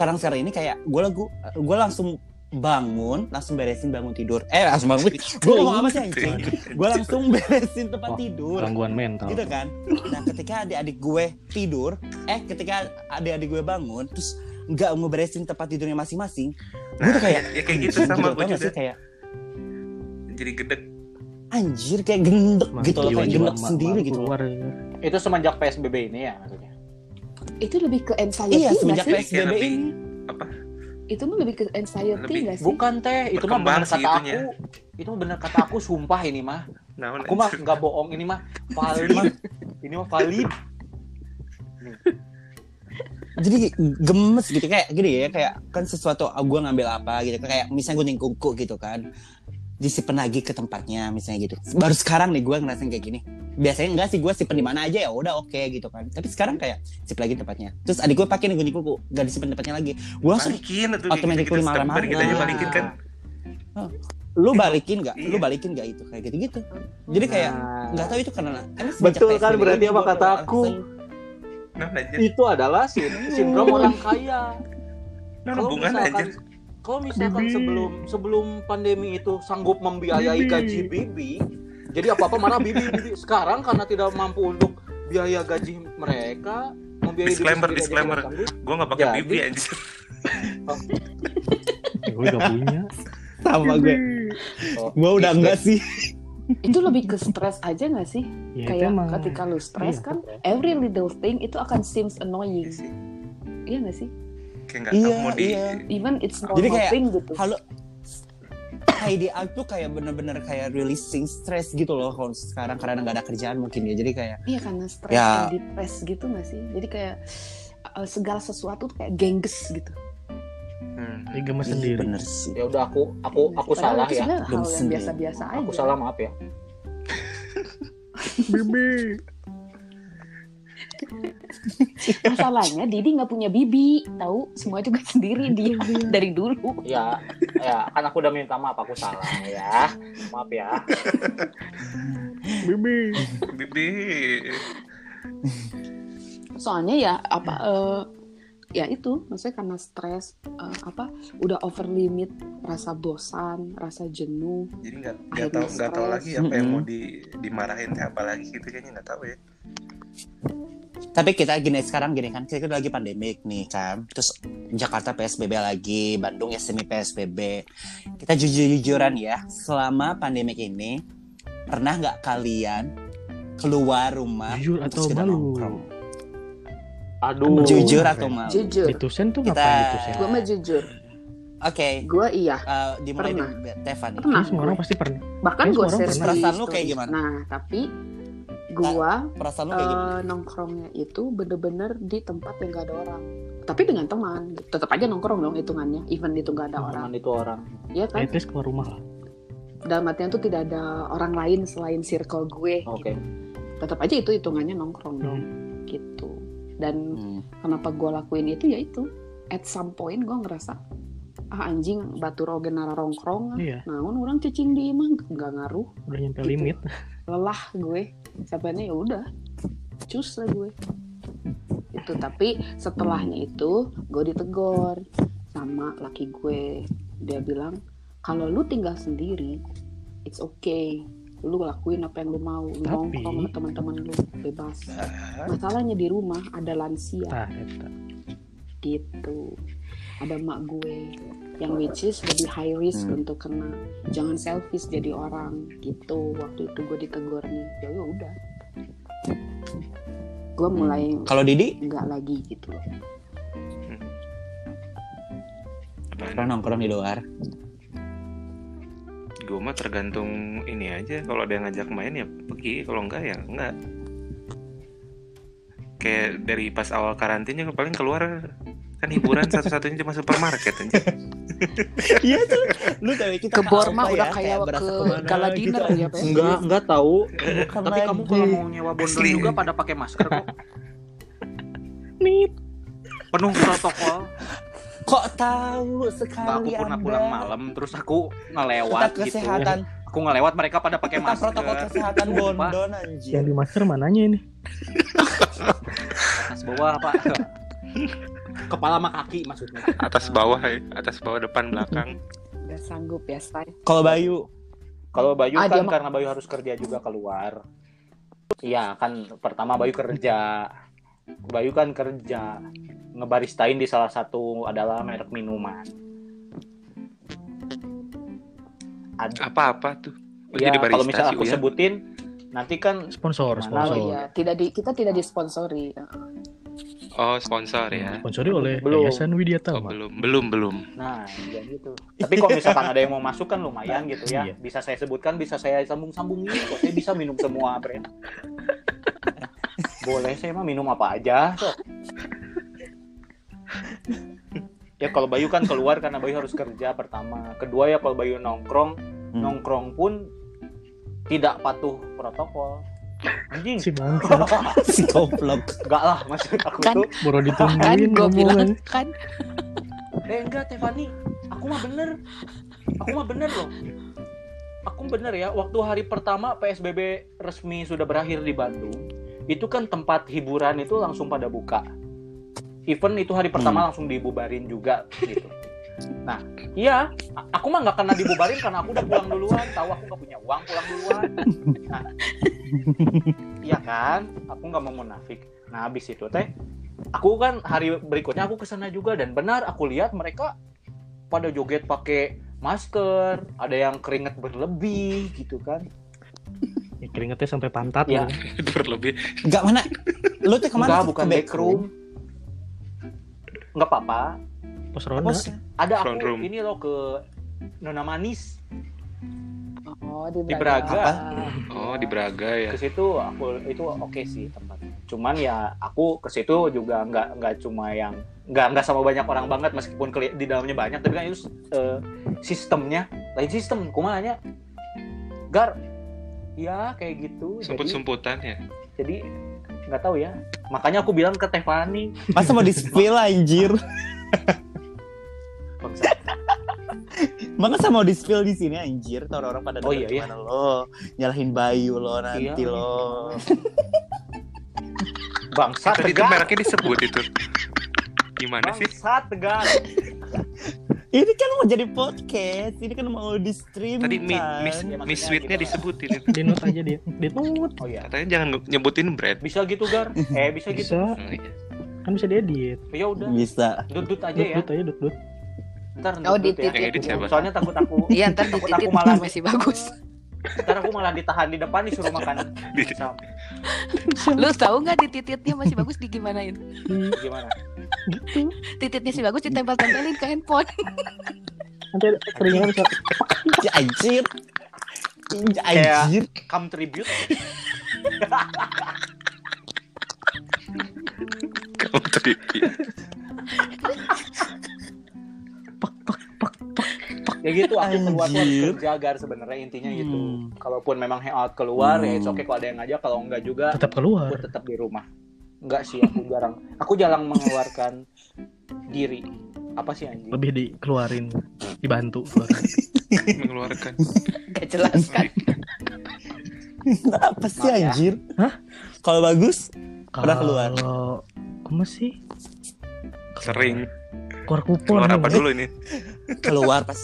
Speaker 3: sekarang sekarang ini kayak gue lagu gue langsung bangun langsung beresin bangun tidur eh langsung bangun gue ngomong apa sih anjing gue langsung beresin tempat
Speaker 4: Oh,
Speaker 2: Wah,
Speaker 3: tidur
Speaker 2: gangguan mental
Speaker 3: gitu kan nah ketika adik-adik gue tidur eh ketika adik-adik gue bangun terus nggak mau beresin tempat tidurnya masing-masing gue tuh kayak
Speaker 4: ya kayak gitu
Speaker 3: anjing
Speaker 4: sama
Speaker 3: gitu,
Speaker 4: gue
Speaker 3: tau nggak
Speaker 4: juga
Speaker 3: sih? kayak
Speaker 4: jadi gedek
Speaker 3: anjir kayak gendek
Speaker 2: Emang
Speaker 3: gitu loh kayak
Speaker 2: jiwa-jiwa
Speaker 3: gendek
Speaker 2: ma-
Speaker 3: sendiri
Speaker 2: makhluk
Speaker 3: gitu loh.
Speaker 2: luar.
Speaker 6: itu semenjak PSBB ini ya maksudnya.
Speaker 1: itu lebih ke anxiety
Speaker 3: iya
Speaker 1: nggak
Speaker 3: semenjak
Speaker 1: sih?
Speaker 3: psbb
Speaker 4: Kayak
Speaker 3: ini
Speaker 1: Itu mah lebih ke anxiety
Speaker 4: Lebih.
Speaker 1: nggak sih?
Speaker 6: Bukan teh, itu mah
Speaker 4: Berkembang
Speaker 6: bener
Speaker 4: sih
Speaker 6: kata
Speaker 4: itunya.
Speaker 6: aku. Itu mah bener kata aku, sumpah ini mah.
Speaker 4: nah,
Speaker 6: Aku mah nggak bohong, ini mah valid. ini mah valid.
Speaker 3: jadi gemes gitu kayak gini ya kayak kan sesuatu ah, gue ngambil apa gitu kayak misalnya gunting kuku gitu kan disimpan lagi ke tempatnya misalnya gitu baru sekarang nih gue ngerasain kayak gini biasanya enggak sih gue simpen di mana aja ya udah oke gitu kan tapi sekarang kayak sip lagi tempatnya terus adik gue pakai nih gunting kuku gak disimpan tempatnya lagi gue langsung
Speaker 6: Kan?
Speaker 4: balikin atau
Speaker 3: automatic
Speaker 4: gitu,
Speaker 3: pull marah-marah.
Speaker 4: kita aja balikin kan
Speaker 3: lu balikin gak lu
Speaker 4: Iya.
Speaker 3: balikin gak itu kayak gitu gitu jadi kayak
Speaker 6: Nah.
Speaker 3: nggak tahu itu karena emang semenjak
Speaker 6: Betul kan,
Speaker 3: PSBB
Speaker 6: berarti apa
Speaker 3: gua
Speaker 6: kata
Speaker 3: udah
Speaker 6: aku?
Speaker 3: ngerasain.
Speaker 4: nah anjir
Speaker 6: Hmm. itu adalah sin- sindrom orang kaya.
Speaker 4: nah Kan
Speaker 6: Kalau
Speaker 4: hubungan
Speaker 6: misalkan
Speaker 4: anjir
Speaker 6: kalau misalkan
Speaker 2: Bibi.
Speaker 6: sebelum sebelum pandemi itu sanggup membiayai
Speaker 2: Bibi.
Speaker 6: gaji Bibi, jadi apa apa marah Bibi, Bibi. Sekarang karena tidak mampu untuk biaya gaji mereka, membiayai diri
Speaker 4: Disclaimer,
Speaker 6: sendiri aja
Speaker 4: disclaimer.
Speaker 6: tidak sanggup.
Speaker 4: Gue nggak pakai
Speaker 6: Jadi-
Speaker 4: bibi anjir.
Speaker 2: gue gak Ya, punya
Speaker 3: sama gue
Speaker 6: Oh,
Speaker 3: gue udah enggak sih
Speaker 1: itu lebih ke stres aja nggak sih
Speaker 2: ya, itu
Speaker 1: kayak
Speaker 2: emang-
Speaker 1: ketika lu stres
Speaker 2: Iya.
Speaker 1: kan every little thing itu akan seems annoying iya nggak sih
Speaker 4: Kayak nggak
Speaker 3: Iya,
Speaker 4: tahu mau di
Speaker 3: iya.
Speaker 1: even it's normal
Speaker 3: Jadi kayak
Speaker 1: thing gitu
Speaker 3: halo Heidi Out tuh kayak bener-bener kayak releasing stress gitu loh kalau sekarang karena nggak ada kerjaan mungkin ya jadi kayak
Speaker 1: iya karena stres dan
Speaker 3: Ya.
Speaker 1: depres gitu nggak sih jadi kayak uh, segala sesuatu tuh kayak gengges gitu
Speaker 4: Hmm.
Speaker 2: ya gemes
Speaker 3: "Ih,
Speaker 2: sendiri
Speaker 3: bener sih
Speaker 6: Ya udah aku aku aku
Speaker 1: Padahal
Speaker 6: salah
Speaker 1: itu kan
Speaker 6: ya.
Speaker 1: sebenarnya hal
Speaker 3: Gemes
Speaker 1: yang
Speaker 3: sendiri.
Speaker 1: biasa-biasa aja
Speaker 6: Aku salah maaf ya.
Speaker 1: masalahnya Didi nggak punya bibi tahu semua juga sendiri
Speaker 3: Iya,
Speaker 1: dia dari dulu
Speaker 6: Ya, ya kan aku udah minta maaf aku salah ya. Maaf ya.
Speaker 4: Bibi.
Speaker 1: soalnya ya apa
Speaker 3: Iya.
Speaker 1: eh, ya itu maksudnya karena stres eh, apa udah over limit rasa bosan rasa jenuh
Speaker 4: Jadi nggak
Speaker 1: nggak
Speaker 4: nggak
Speaker 1: tahu-
Speaker 4: tahu
Speaker 1: nggak
Speaker 4: nggak
Speaker 1: tahu
Speaker 4: tahu
Speaker 1: lagi
Speaker 4: lagi
Speaker 3: apa
Speaker 4: apa
Speaker 3: yang
Speaker 4: yang
Speaker 3: mau
Speaker 4: mau dimarahin apa lagi gitu kayaknya nggak tahu ya.
Speaker 3: tapi kita gini sekarang gini kan kita lagi pandemik nih kan terus Jakarta PSBB lagi Bandung ya semi PSBB kita jujur-jujuran ya selama pandemik ini pernah nggak kalian keluar rumah
Speaker 2: jujur
Speaker 3: untuk
Speaker 2: atau
Speaker 3: sekedar
Speaker 2: malu Oh,
Speaker 3: nongkrong?
Speaker 6: Aduh.
Speaker 3: jujur atau malu oke
Speaker 1: jujur
Speaker 2: Ditusen tuh
Speaker 3: Iya. Kita-
Speaker 2: ngapain ditusen?
Speaker 1: gue mah jujur gue iya
Speaker 3: eh, dimulai
Speaker 1: Pernah.
Speaker 3: dari Tefan nih.
Speaker 1: Pernah.
Speaker 2: Terus semua orang pasti pernah.
Speaker 1: bahkan
Speaker 2: Kayaknya
Speaker 1: gue
Speaker 2: semua orang
Speaker 1: share
Speaker 2: pernah.
Speaker 1: di
Speaker 3: Perasaan lu
Speaker 1: story.
Speaker 3: kayak gimana?
Speaker 1: nah tapi gue
Speaker 3: perasaan lu kayak
Speaker 1: Eh,
Speaker 3: gimana
Speaker 1: nongkrongnya itu bener-bener di tempat yang gak ada orang tapi dengan teman tetap aja nongkrong dong hitungannya even itu gak ada orang
Speaker 6: Teman itu orang.
Speaker 1: ya
Speaker 2: Ya,
Speaker 1: kan
Speaker 2: terus keluar rumah lah.
Speaker 1: dalam artian tuh tidak ada orang lain selain circle gue gitu.
Speaker 6: Oke.
Speaker 1: tetap aja itu hitungannya nongkrong dong gitu dan
Speaker 3: Hmm.
Speaker 1: kenapa gue lakuin itu ya itu at some point gue ngerasa ah anjing batu roge nara rongkrong
Speaker 2: Iya,
Speaker 1: naon orang cacing di emang nggak ngaruh
Speaker 2: udah nyampe
Speaker 1: Gitu.
Speaker 2: limit.
Speaker 1: lelah gue sampai ya udah cus lah gue itu tapi setelahnya itu gue ditegor sama laki gue dia bilang kalau lu tinggal sendiri it's okay lu lakuin apa yang lu mau lu
Speaker 2: Tapi-
Speaker 1: nongkrong sama teman-teman lu bebas masalahnya di rumah ada lansia
Speaker 2: Tah, eta.
Speaker 1: gitu ada mak gue yang which is lebih high risk
Speaker 3: Hmm.
Speaker 1: untuk kena jangan selfish jadi orang gitu waktu itu gue ditegurnya ya ya udah gue mulai
Speaker 3: kalau Didi
Speaker 1: nggak lagi gitu loh
Speaker 4: Hmm.
Speaker 3: pernah nongkrong di luar
Speaker 4: Gue mah tergantung ini aja. Kalau ada yang ngajak main ya pergi. Kalau enggak ya enggak. Kayak dari pas awal karantinnya paling keluar kan hiburan satu-satunya cuma supermarket aja.
Speaker 3: Iya tuh, lu dari kita
Speaker 1: ke
Speaker 3: ke
Speaker 1: Borma
Speaker 3: Alfa
Speaker 1: udah
Speaker 3: ya,
Speaker 1: kayak
Speaker 3: berasa
Speaker 1: ke
Speaker 3: kemana
Speaker 1: gala
Speaker 3: gitu.
Speaker 1: dinner ya Pe.
Speaker 6: Enggak, enggak tahu.
Speaker 3: Bukan
Speaker 6: Tapi kamu
Speaker 3: lagi.
Speaker 6: kalau mau nyewa bondol
Speaker 4: Asli.
Speaker 6: juga pada pakai masker kok. Penuh protokol.
Speaker 3: kok tahu sekali
Speaker 6: aku pernah
Speaker 3: Anda?
Speaker 6: pulang malam terus aku
Speaker 3: Tetap
Speaker 6: ngelewat gitu.
Speaker 3: kesehatan
Speaker 6: Aku ngelewat mereka pada pakai
Speaker 3: tetap
Speaker 6: masker.
Speaker 3: protokol kesehatan
Speaker 6: Sumpah.
Speaker 3: Bondon
Speaker 2: Yang
Speaker 3: anjir
Speaker 2: di masker mananya ini?
Speaker 6: Atas bawah apa? Kepala sama kaki maksudnya.
Speaker 4: Atas bawah ya, atas bawah depan belakang.
Speaker 1: nggak sanggup ya say
Speaker 3: kalau Bayu
Speaker 6: Kalau Bayu
Speaker 1: Ah, dia
Speaker 6: kan
Speaker 1: mah-
Speaker 6: karena Bayu harus kerja juga keluar. Iya kan pertama Bayu kerja. Bayu kan kerja ngebaristain di salah satu adalah merek minuman. Ada
Speaker 4: Apa-apa tuh. Oh,
Speaker 6: ya,
Speaker 4: jadi barista
Speaker 6: kalau misalnya
Speaker 4: Ah, sih,
Speaker 6: aku
Speaker 4: Uya.
Speaker 6: sebutin nanti kan
Speaker 2: Sponsor,
Speaker 6: Mana
Speaker 1: oh
Speaker 2: sponsor.
Speaker 6: lagi?
Speaker 1: iya tidak di kita tidak disponsori
Speaker 4: Oh sponsor ya.
Speaker 2: Sponsori oleh
Speaker 6: Belum.
Speaker 2: Yayasan Widya
Speaker 4: Oh,
Speaker 2: Tama.
Speaker 4: belum, belum, belum.
Speaker 6: nah ya gitu. Tapi kalau misalkan ada yang mau masuk kan lumayan gitu ya.
Speaker 2: Iya.
Speaker 6: Bisa saya sebutkan, bisa saya sambung-sambungin kok. Saya bisa minum semua brand. Boleh saya mah minum apa aja. sok. ya kalau Bayu kan keluar karena Bayu harus kerja pertama. Kedua ya kalau Bayu nongkrong,
Speaker 3: Hmm.
Speaker 6: nongkrong pun tidak patuh protokol. Anjing,
Speaker 2: Si bangsa,
Speaker 3: si goblok
Speaker 6: enggak lah maksud aku
Speaker 1: Kan-
Speaker 6: tuh.
Speaker 2: baru ditungguin
Speaker 1: kan gue
Speaker 2: ngomong.
Speaker 1: bilang kan
Speaker 6: Eh enggak Tevani, aku mah bener. Aku mah bener loh. Aku bener ya, waktu hari pertama PSBB resmi sudah berakhir di Bandung, itu kan tempat hiburan itu langsung pada buka. Event itu hari pertama langsung dibubarin juga gitu. Iya, a- aku mah nggak kena dibubarin karena aku udah pulang duluan. Tahu aku nggak punya uang pulang duluan. Nah, iya kan? Aku nggak mau munafik. Nah, habis itu teh, aku kan hari berikutnya aku kesana juga dan benar aku lihat mereka pada joget pakai masker, ada yang keringet berlebih gitu kan.
Speaker 2: Ya, keringetnya sampai pantat
Speaker 6: Iya.
Speaker 2: gitu.
Speaker 4: berlebih
Speaker 3: Enggak mana? Lu tuh kemana?
Speaker 6: Enggak,
Speaker 3: Ke
Speaker 6: bukan backroom. Nggak apa-apa.
Speaker 2: Pos ronda.
Speaker 3: Pos-
Speaker 6: Ada
Speaker 4: Front room.
Speaker 6: aku ini loh ke Nona Manis.
Speaker 1: Oh,
Speaker 6: Di Braga.
Speaker 3: Apa?
Speaker 4: oh di Braga ya
Speaker 6: ke situ aku itu oke sih tempatnya cuman ya aku ke situ juga nggak nggak cuma yang nggak nggak sama banyak orang banget meskipun keli- di dalamnya banyak tapi kan itu eh, sistemnya lain sistem kumanya gar ya kayak gitu
Speaker 4: sumput
Speaker 6: jadi
Speaker 4: sumputan ya
Speaker 6: jadi nggak tahu ya makanya aku bilang ke Tefani
Speaker 3: Masa mau di spill anjir?
Speaker 6: Bangsa.
Speaker 3: Masa mau di spill di sini anjir? Tuh orang pada
Speaker 6: Oh, iya, iya.
Speaker 3: gimana lo? Nyalahin Bayu lo nanti
Speaker 6: Iya.
Speaker 3: lo.
Speaker 6: bangsat
Speaker 4: tadi itu
Speaker 6: tegar
Speaker 4: mereknya disebut itu gimana sih
Speaker 6: bangsat tegar
Speaker 3: Ini kan mau jadi podcast, ini kan mau di stream
Speaker 4: tadi mi,
Speaker 3: kan.
Speaker 4: miss
Speaker 6: Ya, maksudnya
Speaker 4: miss sweetnya
Speaker 6: gitu lah.
Speaker 4: disebutin itu
Speaker 2: Di note aja dia. Di note.
Speaker 6: oh ya
Speaker 4: katanya jangan nyebutin bread Nah, iya.
Speaker 6: bisa gitu gar eh bisa gitu
Speaker 2: Bisa. Kan bisa diedit.
Speaker 6: ya udah
Speaker 3: Bisa.
Speaker 6: dudut aja
Speaker 2: Dut,
Speaker 6: ya
Speaker 2: dut aja, dut, dut.
Speaker 6: ntar
Speaker 1: Oh,
Speaker 6: dudut ya.
Speaker 1: dititip.
Speaker 4: Yang edit siapa?
Speaker 6: soalnya takut aku
Speaker 1: Iya, ntar
Speaker 6: Takut
Speaker 1: dititit
Speaker 6: aku malah-
Speaker 1: masih bagus.
Speaker 6: Ntar aku malah ditahan di depan disuruh makan
Speaker 4: Di-
Speaker 6: Sam,
Speaker 1: Lu tahu nggak ditititnya masih bagus digimanain?
Speaker 6: gimana?
Speaker 2: Gitu.
Speaker 1: Tititnya masih bagus ditempel-tempelin ke handphone.
Speaker 2: Nanti ada keringetan bisa.
Speaker 3: Ya, Anjir. Ya,
Speaker 6: Kayak-
Speaker 3: Anjir.
Speaker 6: Come tribute.
Speaker 4: kamu tadi iya.
Speaker 6: Ya gitu aku keluar keluar
Speaker 3: Anjir.
Speaker 6: kerja gar sebenarnya intinya gitu.
Speaker 2: Hmm.
Speaker 6: Kalaupun memang hangout keluar
Speaker 3: Hmm.
Speaker 6: ya it's okay kalau ada yang ngajak kalau enggak juga
Speaker 2: Tetap
Speaker 6: aku
Speaker 2: keluar.
Speaker 6: tetap di rumah. Enggak sih aku jarang. Aku jarang mengeluarkan diri. Apa sih anjing?
Speaker 2: Lebih dikeluarin. Dibantu. keluarin.
Speaker 4: mengeluarkan
Speaker 1: Gak jelas kan?
Speaker 3: Apa sih
Speaker 6: Maaf ya.
Speaker 3: anjir?
Speaker 2: Hah?
Speaker 3: Kalau bagus, Pernah keluar?
Speaker 2: Kalau aku masih
Speaker 4: sering
Speaker 2: keluar kupon.
Speaker 4: keluar
Speaker 2: ya.
Speaker 4: apa dulu ini
Speaker 3: keluar pas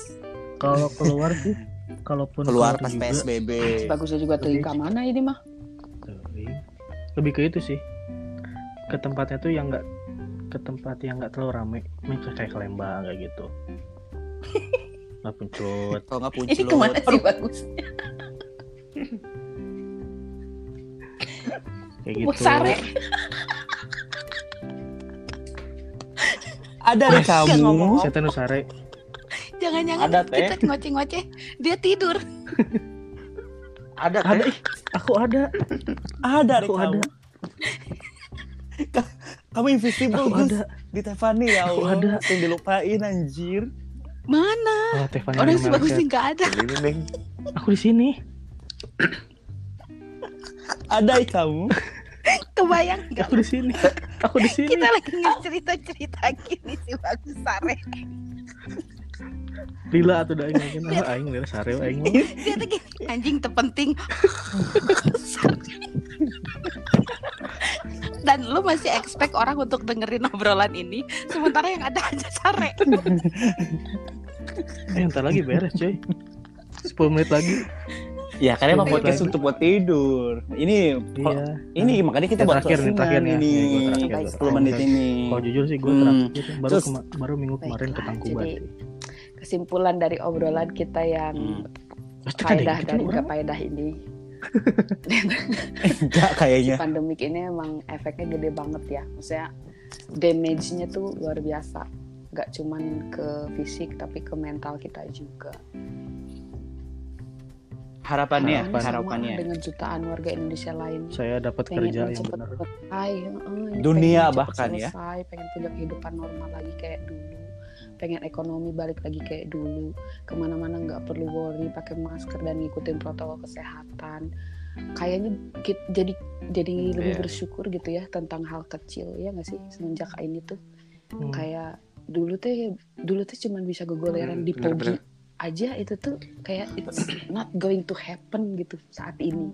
Speaker 2: Kalau keluar sih, kalaupun
Speaker 3: keluar pas
Speaker 2: juga,
Speaker 3: PSBB.
Speaker 1: Bagusnya juga telinga mana ini mah?
Speaker 2: sering. Lebih ke itu sih. Ke tempatnya tuh yang enggak ke tempat yang enggak terlalu rame. Ini ke- kayak ke Lembang kayak gitu. Nggak puncut.
Speaker 3: Kalau nggak
Speaker 1: Ini
Speaker 3: puncelut.
Speaker 1: kemana sih bagus?
Speaker 2: Kayak
Speaker 1: Mau
Speaker 2: gitu.
Speaker 1: sare?
Speaker 3: Ada deh kamu.
Speaker 2: Setan Nusare.
Speaker 1: Jangan-jangan
Speaker 6: Ada, Teh.
Speaker 1: kita ngoceh-ngoceh, dia tidur.
Speaker 2: Ada
Speaker 6: Ada kan?
Speaker 2: ih, aku ada.
Speaker 3: Ada deh
Speaker 2: Aku
Speaker 3: kamu.
Speaker 2: ada.
Speaker 3: Ka- Kamu invisible
Speaker 2: Aku
Speaker 3: Gus
Speaker 2: ada.
Speaker 3: di Tefani ya
Speaker 2: Aku
Speaker 3: Allah.
Speaker 2: ada.
Speaker 3: Yang dilupain anjir.
Speaker 1: Mana?
Speaker 2: Ah, Tefani
Speaker 1: Orang
Speaker 2: di
Speaker 1: si bagus
Speaker 2: Market.
Speaker 1: sih nggak ada.
Speaker 4: ini neng
Speaker 2: Aku di sini.
Speaker 3: Ada deh kamu.
Speaker 1: Kebayang nggak?
Speaker 2: Aku di sini. Aku di sini.
Speaker 5: Kita lagi cerita-cerita gini si bagus sare.
Speaker 2: Lila atau udah aing ah aing Lila sare aing. mah.
Speaker 1: Dia tuh gini, anjing terpenting. Dan lu masih expect orang untuk dengerin obrolan ini, sementara yang ada aja sare.
Speaker 2: Eh, ntar lagi beres, coy. 10 menit lagi.
Speaker 3: Ya karena
Speaker 2: emang podcast
Speaker 3: untuk buat tidur. Ini
Speaker 2: Iya.
Speaker 3: ini makanya
Speaker 2: Yang
Speaker 3: kita buat
Speaker 2: terakhir nih,
Speaker 3: closingan
Speaker 2: terakhir ya.
Speaker 3: ini.
Speaker 2: Iya, gua terakhir, gua terakhir.
Speaker 3: 10 menit ini.
Speaker 2: Kalau jujur sih gue
Speaker 3: Hmm.
Speaker 2: terakhir baru
Speaker 3: Terus-
Speaker 2: kema- baru minggu kemarin ke
Speaker 1: Baiklah,
Speaker 2: Tangkuban.
Speaker 1: jadi- Kesimpulan dari obrolan kita
Speaker 3: Hmm.
Speaker 1: yang
Speaker 2: Pasti ada
Speaker 1: faedah
Speaker 2: yang
Speaker 1: dan
Speaker 2: gitu, orang.
Speaker 1: gak faedah ini.
Speaker 3: Enggak kayaknya.
Speaker 1: Pandemik ini emang efeknya gede banget ya. Maksudnya damage-nya tuh luar biasa. Gak cuman ke fisik tapi ke mental kita juga.
Speaker 3: Harapannya,
Speaker 1: Ini sama
Speaker 3: harapannya.
Speaker 1: dengan jutaan warga Indonesia lain
Speaker 2: Saya dapat
Speaker 1: pengen
Speaker 2: kerja
Speaker 1: ini
Speaker 2: yang
Speaker 1: cepet
Speaker 2: benar.
Speaker 1: selesai heeh, ini
Speaker 3: Dunia
Speaker 1: pengen cepet
Speaker 3: bahkan ya.
Speaker 1: selesai, pengen punya kehidupan normal lagi kayak dulu pengen ekonomi balik lagi kayak dulu kemana-mana nggak perlu worry pakai masker dan ngikutin protokol kesehatan kayaknya ki- jadi jadi lebih
Speaker 4: Iya.
Speaker 1: bersyukur gitu ya tentang hal kecil ya nggak sih semenjak ini tuh
Speaker 2: Hmm.
Speaker 1: kayak dulu teh dulu teh cuman bisa
Speaker 4: Hmm,
Speaker 1: gegoleran di pogi
Speaker 4: bener-bener.
Speaker 1: aja itu tuh kayak it's not going to happen gitu saat ini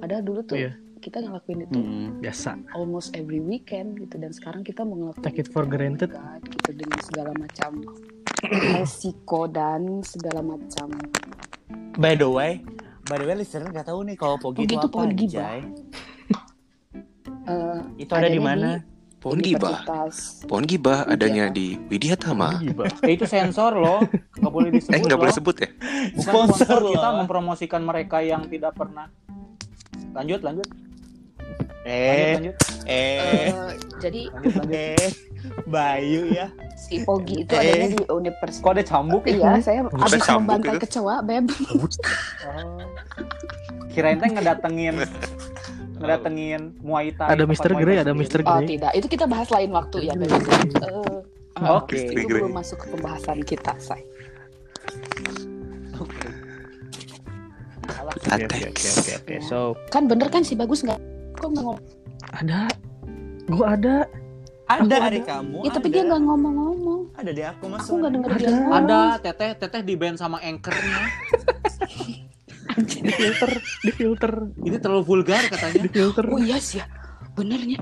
Speaker 1: padahal dulu tuh
Speaker 2: Iya.
Speaker 1: kita ngelakuin itu
Speaker 3: Mm.
Speaker 2: Biasa.
Speaker 1: almost every weekend gitu dan sekarang kita mau ngelakuin
Speaker 2: Take it
Speaker 1: itu, oh
Speaker 2: for
Speaker 1: my
Speaker 2: granted.
Speaker 1: God, gitu dengan segala macam resiko dan segala macam.
Speaker 3: By the way, by the way listener nggak tahu nih kalau pogi
Speaker 1: Pogi
Speaker 3: itu
Speaker 1: itu
Speaker 3: apa,
Speaker 1: pogi, Bah.
Speaker 3: Jai.
Speaker 1: Eh,
Speaker 3: Itu ada di
Speaker 1: adanya
Speaker 3: mana?
Speaker 4: Pohon gibah.
Speaker 1: Universitas.
Speaker 4: Pohon gibah adanya di
Speaker 2: Ah,
Speaker 4: Widyatama.
Speaker 2: Iya,
Speaker 6: Eh, itu sensor loh, nggak boleh disebut.
Speaker 4: Eh nggak boleh
Speaker 6: loh.
Speaker 4: sebut ya?
Speaker 6: Bukan
Speaker 3: Sponsor
Speaker 6: sponsor,
Speaker 3: loh.
Speaker 6: kita mempromosikan mereka yang tidak pernah. Lanjut, lanjut, lanjut,
Speaker 3: Eh,
Speaker 6: lanjut.
Speaker 3: eh,
Speaker 1: Eh, jadi
Speaker 6: lanjut, lanjut.
Speaker 3: eh, Bayu ya.
Speaker 1: si Pogi itu
Speaker 3: Eh.
Speaker 1: adanya di Universitas.
Speaker 6: Kok ada cambuk ya?
Speaker 1: Iya, saya habis
Speaker 4: sambung
Speaker 1: membantai
Speaker 4: itu.
Speaker 1: kecoa, Beb.
Speaker 2: Iya.
Speaker 6: Oh. Kirain teh ngedatengin ngedatengin Muay Thai.
Speaker 2: Ada
Speaker 6: tempat
Speaker 2: Mr.
Speaker 6: Muay
Speaker 2: Grey,
Speaker 6: Thai
Speaker 2: ada
Speaker 6: sendiri.
Speaker 2: Mr.
Speaker 1: Oh,
Speaker 2: Grey.
Speaker 1: tidak. Itu kita bahas lain waktu ya, Beb.
Speaker 2: Iya.
Speaker 1: Eh,
Speaker 6: Oke.
Speaker 1: itu belum masuk ke pembahasan kita, say.
Speaker 6: Alah,
Speaker 2: Oke, oke, oke, oke, oke. So,
Speaker 1: Kan bener kan si Bagus nggak? Kok nggak ngomong?
Speaker 2: ada. Gua ada.
Speaker 3: Ada
Speaker 2: Aku
Speaker 3: ada
Speaker 2: ada.
Speaker 3: kamu.
Speaker 1: Ya, tapi
Speaker 3: ada.
Speaker 1: dia nggak ngomong-ngomong.
Speaker 3: Ada deh aku masuk.
Speaker 1: Aku nggak denger dia
Speaker 2: Ada.
Speaker 1: ngomong.
Speaker 6: Ada teteh teteh di band sama anchornya.
Speaker 2: Di filter, di filter,
Speaker 6: Ini terlalu vulgar katanya.
Speaker 2: di filter.
Speaker 1: Oh iya sih ya, benernya.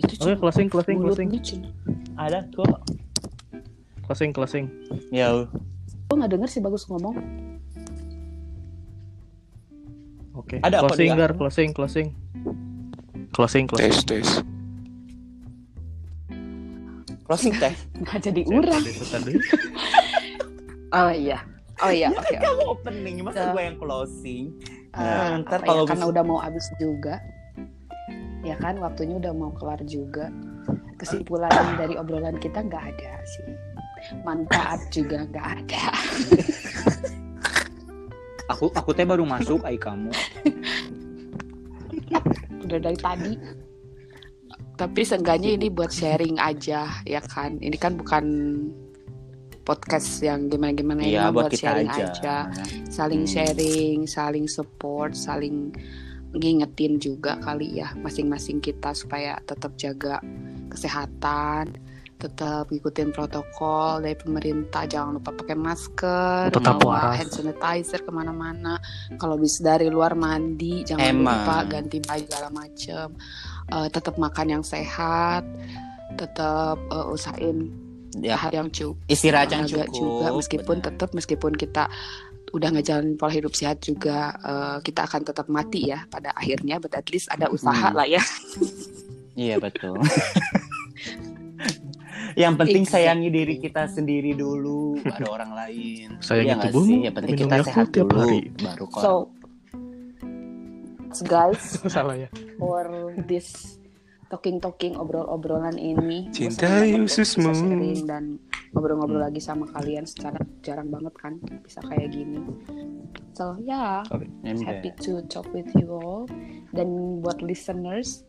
Speaker 1: itu
Speaker 2: Oke, closing, closing, closing,
Speaker 1: mulutnya cuma.
Speaker 3: Ada kok.
Speaker 2: closing, closing.
Speaker 3: Ya,
Speaker 1: Gue nggak denger sih bagus ngomong.
Speaker 2: Oke.
Speaker 3: Ada apa
Speaker 2: Closing,
Speaker 3: dia?
Speaker 2: Gar, closing, closing. Closing, closing.
Speaker 4: Tes tes.
Speaker 3: closing teh.
Speaker 1: Nggak jadi urang.
Speaker 2: Tadi.
Speaker 1: Oh iya. Oh iya, oke.
Speaker 3: Ya,
Speaker 2: Ya,
Speaker 3: Kamu opening, masa
Speaker 1: Dah.
Speaker 3: gue yang closing?
Speaker 1: Ah,
Speaker 3: Nah, ntar
Speaker 1: apa
Speaker 3: kalau
Speaker 1: ya, karena
Speaker 3: bisa-
Speaker 1: udah mau habis juga. Ya kan, waktunya udah mau kelar juga. Kesimpulan dari obrolan kita nggak ada sih. Manfaat juga nggak ada.
Speaker 6: Aku aku teh baru masuk ai kamu.
Speaker 1: udah dari tadi tapi seenggaknya ini buat sharing aja ya kan ini kan bukan podcast yang gimana-gimana ini
Speaker 3: Iya,
Speaker 1: mah
Speaker 3: buat kita
Speaker 1: sharing
Speaker 3: aja.
Speaker 1: saling
Speaker 3: Hmm.
Speaker 1: sharing saling support saling ngingetin juga kali ya masing-masing kita supaya tetap jaga kesehatan tetap ikutin protokol dari pemerintah jangan lupa pakai masker
Speaker 2: Tetap
Speaker 1: bawa
Speaker 2: waras.
Speaker 1: hand sanitizer kemana-mana kalau bisa dari luar mandi jangan
Speaker 3: Emang.
Speaker 1: lupa ganti baju segala macem Eh, tetap makan yang sehat tetap eh, usahain
Speaker 3: Ya,
Speaker 1: hal yang cukup
Speaker 3: istirahat yang
Speaker 1: olahraga
Speaker 3: cukup.
Speaker 1: juga meskipun
Speaker 3: benar.
Speaker 1: tetap meskipun kita udah ngejalanin pola hidup sehat juga eh, kita akan tetap mati ya pada akhirnya but at least ada usaha
Speaker 3: Hmm.
Speaker 1: lah ya
Speaker 3: Iya betul. yang penting
Speaker 1: Exactly.
Speaker 3: sayangi diri kita sendiri dulu, ada orang lain.
Speaker 2: Sayangi
Speaker 3: Iya nggak
Speaker 2: tubuhmu,
Speaker 3: sih? Yang penting
Speaker 2: minum
Speaker 3: kita
Speaker 2: Yakult
Speaker 3: sehat
Speaker 2: tiap
Speaker 3: dulu,
Speaker 2: hari.
Speaker 3: baru kalau
Speaker 1: so guys
Speaker 2: Salah ya.
Speaker 1: for this talking talking obrol obrolan ini Gua
Speaker 4: Cintai
Speaker 1: senang banget gua
Speaker 4: ususmu.
Speaker 1: bisa sharing dan ngobrol-ngobrol lagi sama kalian secara jarang banget kan bisa kayak gini so ya
Speaker 3: Iya.
Speaker 1: happy to talk with you all dan buat listeners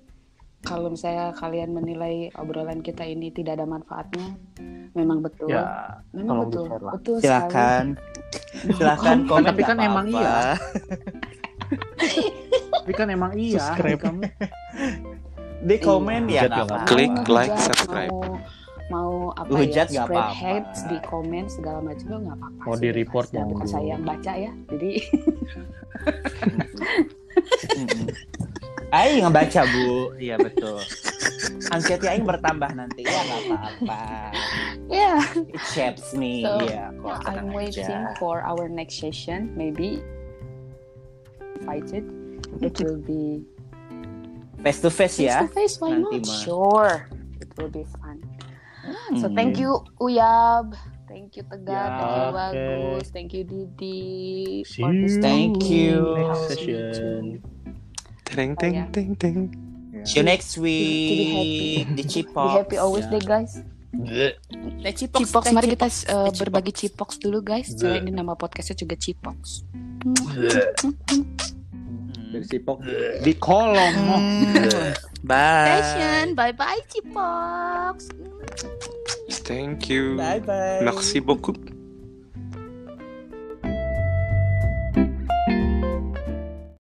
Speaker 1: kalau misalnya kalian menilai obrolan kita ini tidak ada manfaatnya memang betul
Speaker 2: Ya,
Speaker 1: memang
Speaker 2: tolong
Speaker 1: betul
Speaker 2: di-share lah.
Speaker 1: betul sekali
Speaker 3: silakan silakan komen
Speaker 6: tapi kan
Speaker 3: nggak
Speaker 6: emang
Speaker 3: apa-apa.
Speaker 6: iya. Tapi kan emang iya.
Speaker 2: Subscribe.
Speaker 6: ai kamu.
Speaker 3: di komen
Speaker 2: Iya.
Speaker 3: ya nggak apa-apa.
Speaker 4: Klik,
Speaker 1: Mau
Speaker 4: like,
Speaker 1: hujat,
Speaker 4: subscribe.
Speaker 1: mau, mau apa
Speaker 3: Hujat
Speaker 1: ya
Speaker 3: nggak
Speaker 1: spread
Speaker 3: apa-apa.
Speaker 1: hate di komen segala macam juga nggak apa-apa
Speaker 2: Mau
Speaker 1: sih,
Speaker 2: di-report,
Speaker 1: bebas. Dan
Speaker 2: mau
Speaker 1: bukan
Speaker 2: di-
Speaker 1: saya yang baca ya jadi
Speaker 3: Mm-mm. Aing ngebaca bu, iya betul. Anxiety Aing bertambah nanti ya nggak apa-apa.
Speaker 1: ya
Speaker 3: It shapes me,
Speaker 1: So,
Speaker 3: iya kok tenang
Speaker 1: I'm waiting
Speaker 3: aja.
Speaker 1: for our next session maybe invited it will be
Speaker 3: Face to face
Speaker 1: face
Speaker 3: ya.
Speaker 1: to face why
Speaker 3: nanti
Speaker 1: not
Speaker 3: mah.
Speaker 1: sure it will be fun So thank
Speaker 3: Hmm.
Speaker 1: you Uyab, thank you Tegar,
Speaker 6: Ya,
Speaker 1: thank you
Speaker 2: oke.
Speaker 1: Bagus, thank you Didi.
Speaker 2: See
Speaker 1: for this
Speaker 2: you.
Speaker 3: Thank you.
Speaker 2: Next
Speaker 1: opportunity
Speaker 2: session.
Speaker 4: Teng teng teng teng.
Speaker 3: See you next
Speaker 1: To be happy.
Speaker 3: week di
Speaker 1: To be
Speaker 3: Cipok.
Speaker 1: happy always deh guys.
Speaker 3: Teh Cipoks,
Speaker 1: Cipoks,
Speaker 3: teh
Speaker 1: mari kita
Speaker 3: Cipoks,
Speaker 1: uh,
Speaker 3: teh
Speaker 1: berbagi
Speaker 3: Cipoks.
Speaker 1: cipoks dulu guys. Selain di nama podcastnya juga cipoks.
Speaker 6: Dari sipok di kolom. oh.
Speaker 3: Bye.
Speaker 1: Session, bye bye cipoks.
Speaker 4: Thank you.
Speaker 3: Bye bye.
Speaker 4: Merci beaucoup.